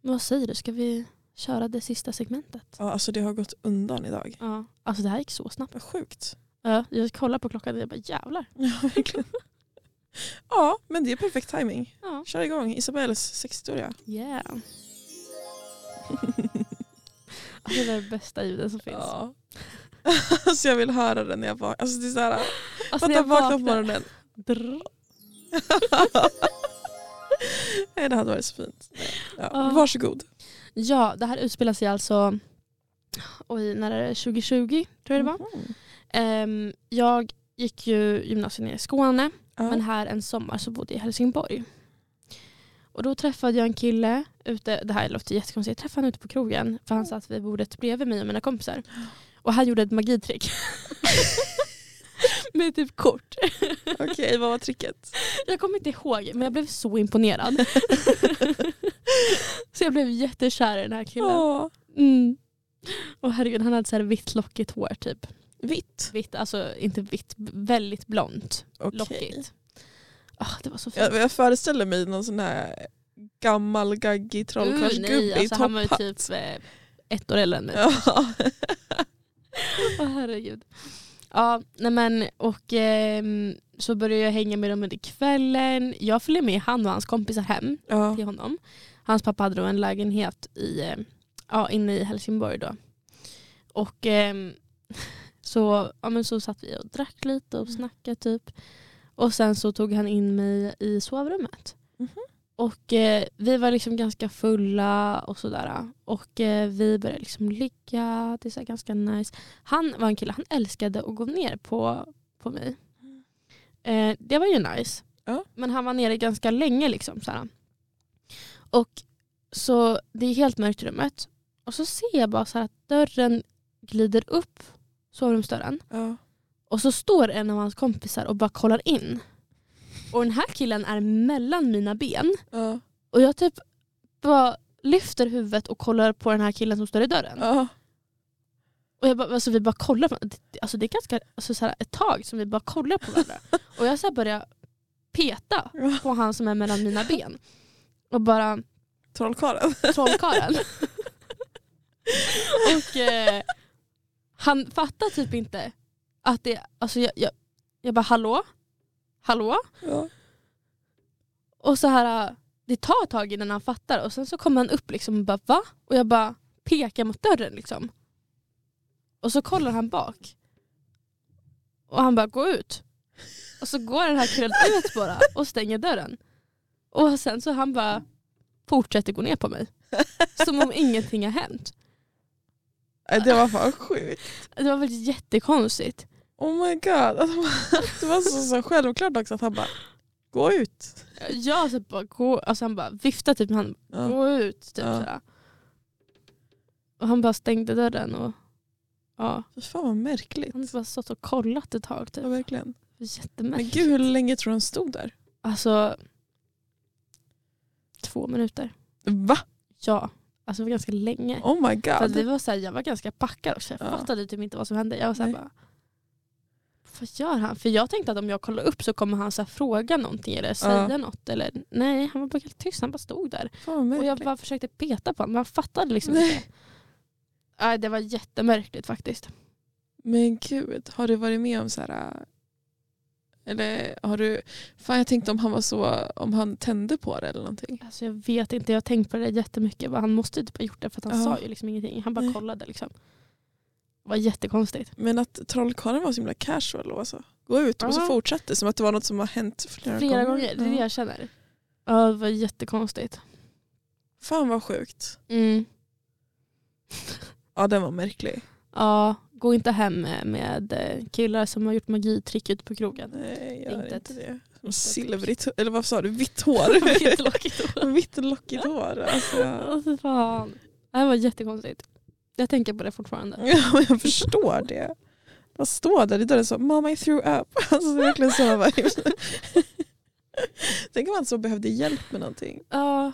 Speaker 1: Men vad säger du, ska vi köra det sista segmentet?
Speaker 2: Ja, alltså, det har gått undan idag.
Speaker 1: Ja. Alltså det här gick så snabbt.
Speaker 2: Vad sjukt.
Speaker 1: Ja, jag kollar på klockan och jag bara jävlar.
Speaker 2: Ja, verkligen. ja, men det är perfekt timing.
Speaker 1: Ja.
Speaker 2: Kör igång Isabelles sexhistoria.
Speaker 1: Yeah. Alltså, det är det bästa ljudet som finns.
Speaker 2: Ja. alltså jag vill höra den när jag vaknar. Alltså det är så här,
Speaker 1: Alltså,
Speaker 2: fatta vakna på morgonen.
Speaker 1: Drr.
Speaker 2: Nej det hade varit så fint. Ja.
Speaker 1: Ja.
Speaker 2: Varsågod.
Speaker 1: Ja, det här utspelar sig alltså oj, när är det? 2020 tror jag det var.
Speaker 2: Mhm.
Speaker 1: Ehm, jag gick ju gymnasiet nere i Skåne
Speaker 2: Ja.
Speaker 1: men här en sommar så bodde jag i Helsingborg. Och då träffade jag en kille ute, det här låter jättekonstigt, jag träffade honom ute på krogen för han satt vid bordet typ bredvid mig och mina kompisar. Och han gjorde ett magitrick. Med typ kort.
Speaker 2: Okej, vad var tricket?
Speaker 1: Jag kommer inte ihåg men jag blev så imponerad. så jag blev jättekär i den här killen.
Speaker 2: Ja.
Speaker 1: Mm. Och herregud, han hade så här vitt lockigt hår typ.
Speaker 2: Vitt.
Speaker 1: Vitt, alltså inte vitt, b- väldigt blont.
Speaker 2: Okej.
Speaker 1: Lockigt. Ah, det var så fint.
Speaker 2: Jag, jag föreställer mig någon sån här gammal gaggig
Speaker 1: Uh, nej,
Speaker 2: trollkarlsgubbe i
Speaker 1: alltså, han var ju
Speaker 2: topphatt.
Speaker 1: typ eh, ett år äldre än mig.
Speaker 2: Ja.
Speaker 1: Åh, herregud. Ja, nej men och ehm, så började jag hänga med dem under kvällen. Jag följde med han och hans kompisar hem
Speaker 2: Ja.
Speaker 1: till honom. Hans pappa hade då en lägenhet i, eh, ja, inne i Helsingborg då. Och ehm, så, ja, men så satt vi och drack lite
Speaker 2: Mm.
Speaker 1: och snackade typ. Och sen så tog han in mig i sovrummet.
Speaker 2: Mhm.
Speaker 1: Och eh, vi var liksom ganska fulla och sådär. Och eh, vi började liksom ligga, det är så här ganska nice. Han var en kille, han älskade att gå ner på, på mig. Eh, det var ju nice.
Speaker 2: Mm. Ja.
Speaker 1: Men han var nere ganska länge liksom. Så Och så det är helt mörkt i rummet. Och så ser jag bara så här att dörren glider upp, sovrumsdörren.
Speaker 2: Ja.
Speaker 1: Och så står en av hans kompisar och bara kollar in. Och den här killen är mellan mina ben.
Speaker 2: Ja.
Speaker 1: Och jag typ bara lyfter huvudet och kollar på den här killen som står i dörren.
Speaker 2: Ja.
Speaker 1: Och jag bara, alltså vi bara kollar på det- alltså det är ganska alltså så här ett tag som vi bara kollar på varandra. och jag så här börjar peta
Speaker 2: Ja.
Speaker 1: på han som är mellan mina ben. Och bara,
Speaker 2: Trollkarlen.
Speaker 1: trollkarlen. och eh, han fattar typ inte att det, alltså jag, jag, jag bara hallå, hallå.
Speaker 2: Ja.
Speaker 1: Och så här, eh, det tar ett tag innan han fattar och sen så kommer han upp liksom och bara va? Och jag bara pekar mot dörren liksom. Och så kollar han bak. Och han bara gå ut. Och så går den här killen ut bara och stänger dörren. Och sen så han bara fortsätter gå ner på mig. Som om ingenting har hänt.
Speaker 2: Nej, Äh, Det var fan sjukt.
Speaker 1: Det var väldigt jättekonstigt.
Speaker 2: Oh my god. Alltså, Det var så, så självklart också att han bara, gå ut.
Speaker 1: Jag så bara gå, alltså han bara viftade typ med handen.
Speaker 2: Ja.
Speaker 1: Gå ut. Typ,
Speaker 2: Ja.
Speaker 1: sådär. Och han bara stängde dörren och ja,
Speaker 2: Fy fan vad märkligt.
Speaker 1: han hade bara stått och kollat ett tag. Typ.
Speaker 2: Ja, verkligen. Men
Speaker 1: Jättemärkligt.
Speaker 2: gud hur länge tror du han stod där?
Speaker 1: Alltså två minuter.
Speaker 2: Va?
Speaker 1: Ja, alltså det var ganska länge.
Speaker 2: Oh my
Speaker 1: För att vi
Speaker 2: god.
Speaker 1: var såhär, jag var ganska packad också. Jag
Speaker 2: Ja.
Speaker 1: fattade typ inte vad som hände. Jag var såhär
Speaker 2: Nej.
Speaker 1: bara, vad gör han? För jag tänkte att om jag kollar upp så kommer han så här fråga någonting eller säga något. Eller, nej, han var bara helt tyst. Han bara stod där.
Speaker 2: Fan vad
Speaker 1: Och jag
Speaker 2: märkligt.
Speaker 1: bara försökte peta på honom. men Han fattade liksom
Speaker 2: Nej.
Speaker 1: inte. Nej, det var jättemärkligt faktiskt.
Speaker 2: Men gud, har du varit med om så här eh, Eller har du, fan jag tänkte om han var så, om han tände på det eller någonting.
Speaker 1: Alltså jag vet inte, jag har tänkt på det där jättemycket. Vad Han måste ju typ ha gjort det för att han
Speaker 2: Ja.
Speaker 1: sa ju liksom ingenting. Han bara
Speaker 2: Nej.
Speaker 1: kollade liksom. Det var jättekonstigt.
Speaker 2: Men att trollkarlen var så himla casual och så. Gå ut och så
Speaker 1: Ja.
Speaker 2: fortsatte som att det var något som har hänt flera,
Speaker 1: Flera gånger, det är det
Speaker 2: Ja.
Speaker 1: jag känner. Ja, det var jättekonstigt.
Speaker 2: Fan vad sjukt.
Speaker 1: Mm.
Speaker 2: Ja den var märklig.
Speaker 1: Ja, gå inte hem med- med eh, killar som har gjort magitrick ute på krogen.
Speaker 2: Nej gör
Speaker 1: Inte
Speaker 2: inte,
Speaker 1: ett-
Speaker 2: det.
Speaker 1: ett-
Speaker 2: Silvrigt, eller vad sa du, vitt hår.
Speaker 1: Vilket lockigt det var.
Speaker 2: Vitt lockigt hår alltså.
Speaker 1: Åh, fy fan. Det här var jättekonstigt. Jag tänker på det fortfarande.
Speaker 2: Ja, men jag förstår det. Man står där i dörren så mamma I threw up. Alltså det är verkligen sådana vibes. Tänk om han så behövde hjälp med någonting.
Speaker 1: Ja.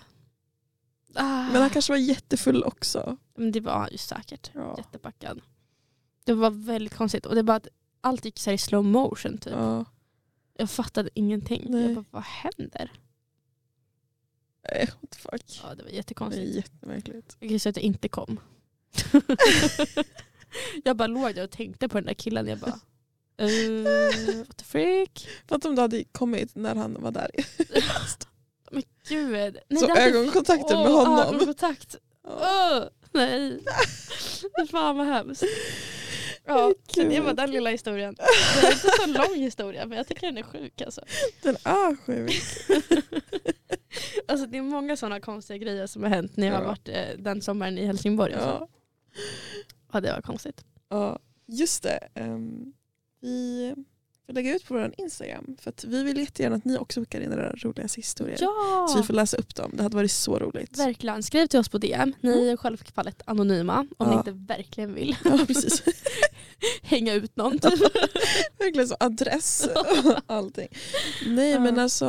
Speaker 1: Ah.
Speaker 2: Men han kanske var jättefull också.
Speaker 1: Men det var han ju säkert.
Speaker 2: Ja.
Speaker 1: Jättepackad. Det var väldigt konstigt. Och det var att allt gick så här i slow motion typ.
Speaker 2: Ja.
Speaker 1: Jag fattade ingenting.
Speaker 2: Nej.
Speaker 1: Jag bara, vad händer?
Speaker 2: Eh, What the fuck.
Speaker 1: Ja, det var
Speaker 2: Det är
Speaker 1: jättekonstigt.
Speaker 2: jättemärkligt.
Speaker 1: Jag kan ju säga att jag inte kom. jag bara låg där och tänkte på den där killen. Jag bara, eh, what the freak?
Speaker 2: Fatta om du hade kommit när han var där.
Speaker 1: Men gud. Nej,
Speaker 2: så
Speaker 1: jag hade-
Speaker 2: ögonkontakten med
Speaker 1: Åh,
Speaker 2: honom.
Speaker 1: Ögonkontakt.
Speaker 2: Ja.
Speaker 1: Åh, nej. Fy Fan vad hemskt. Ja, så det var den lilla historien. Det är inte så lång historia men jag tycker den är sjuk alltså.
Speaker 2: Den är sjuk.
Speaker 1: alltså det är många sådana konstiga grejer som har hänt när jag har
Speaker 2: Ja.
Speaker 1: varit eh, den sommaren i Helsingborg. Alltså.
Speaker 2: Ja.
Speaker 1: Ja det var konstigt.
Speaker 2: Ja, just det. Ehm, vi får lägga ut på vår Instagram för att vi vill jättegärna att ni också skickar in era roligaste historier.
Speaker 1: Ja!
Speaker 2: Så vi får läsa upp dem. Det hade varit så roligt.
Speaker 1: Verkligen. Skriv till oss på DM. Ni är självfallet anonyma om ni
Speaker 2: Mm. Ja.
Speaker 1: inte verkligen vill
Speaker 2: Ja, precis.
Speaker 1: hänga ut någon. typ.
Speaker 2: Verkligen så adress och allting. Nej
Speaker 1: Ja. Mm.
Speaker 2: men alltså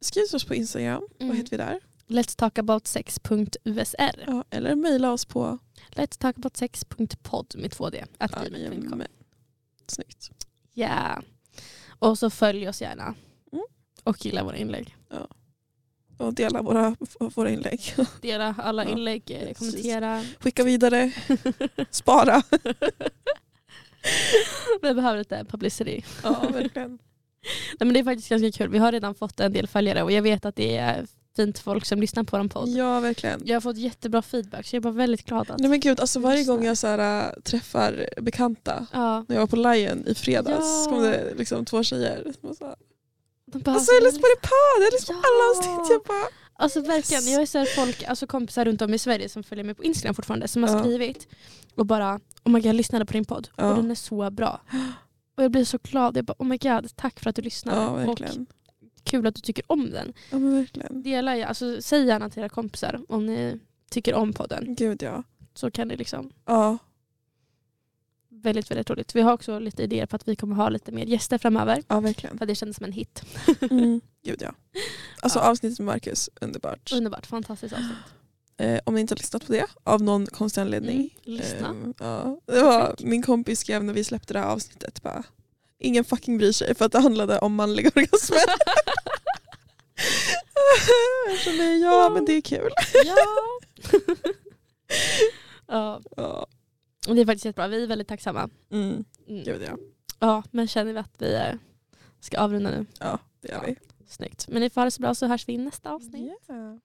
Speaker 2: skriv till oss på Instagram. Vad heter vi där?
Speaker 1: Let's talk about sex.usr.
Speaker 2: Ja, eller mejla oss på
Speaker 1: Let's talk about sex.podd med två d. Att gmail.com.
Speaker 2: Jajamän. Snyggt.
Speaker 1: Ja. Och så följ oss gärna.
Speaker 2: Mm.
Speaker 1: Och gilla våra inlägg.
Speaker 2: Och dela våra, våra inlägg.
Speaker 1: Dela alla
Speaker 2: Ja,
Speaker 1: inlägg, eh,
Speaker 2: precis.
Speaker 1: kommentera.
Speaker 2: Skicka vidare. Spara.
Speaker 1: Vi behöver lite publicity.
Speaker 2: Ja, verkligen.
Speaker 1: Nej, men det är faktiskt ganska kul. Vi har redan fått en del följare och jag vet att det är fint folk som lyssnar på vår podd.
Speaker 2: Ja, verkligen.
Speaker 1: Jag har fått jättebra feedback så jag är bara väldigt glad att...
Speaker 2: Mm. Nej men gud, alltså varje
Speaker 1: Lyssna.
Speaker 2: gång jag så här, äh, träffar bekanta
Speaker 1: Ja,
Speaker 2: när jag var på Lion i fredags
Speaker 1: Ja.
Speaker 2: så kom det liksom två tjejer som sa
Speaker 1: de bara,
Speaker 2: alltså jag lyssnar på det podd, jag lyssnar på
Speaker 1: Ja.
Speaker 2: alla avsnitt. Jag bara,
Speaker 1: Alltså verkligen, jag har så här folk, alltså kompisar runt om i Sverige som följer mig på Instagram fortfarande som har
Speaker 2: Ja.
Speaker 1: skrivit och bara oh my god jag lyssnade på din podd
Speaker 2: Ja.
Speaker 1: och den är så bra. Och jag blir så glad, jag bara oh my god tack för att du lyssnade
Speaker 2: ja
Speaker 1: och
Speaker 2: verkligen.
Speaker 1: kul att du tycker om den.
Speaker 2: Ja men verkligen.
Speaker 1: Dela, gärna- alltså, säg gärna till era kompisar om ni tycker om podden
Speaker 2: Gud ja.
Speaker 1: så kan det liksom
Speaker 2: Ja,
Speaker 1: väldigt väldigt roligt. Vi har också lite idéer på att vi kommer ha lite mer gäster framöver
Speaker 2: ja verkligen.
Speaker 1: för det kändes som en hit.
Speaker 2: Mm. Gud ja. Alltså
Speaker 1: Ja.
Speaker 2: avsnittet med Marcus, underbart.
Speaker 1: Underbart, fantastiskt avsnitt.
Speaker 2: Eh, om ni inte har lyssnat på det av någon konstig anledning.
Speaker 1: Mm, lyssna.
Speaker 2: ehm, ja. det var, min kompis skrev när vi släppte det här avsnittet bara Ingen fucking bryr sig för att det handlade om manliga orgasmer. Jag kände, ja men det är kul.
Speaker 1: ja. ja,
Speaker 2: Ja.
Speaker 1: och det är faktiskt jättebra. Vi är väldigt tacksamma.
Speaker 2: Mm.
Speaker 1: Mm.
Speaker 2: Gud ja,
Speaker 1: Ja, men känner vi att vi eh, ska avrunda nu?
Speaker 2: ja det gör vi.
Speaker 1: Snyggt. Men ni får ha det så bra så hörs vi i nästa avsnitt.
Speaker 2: Yeah.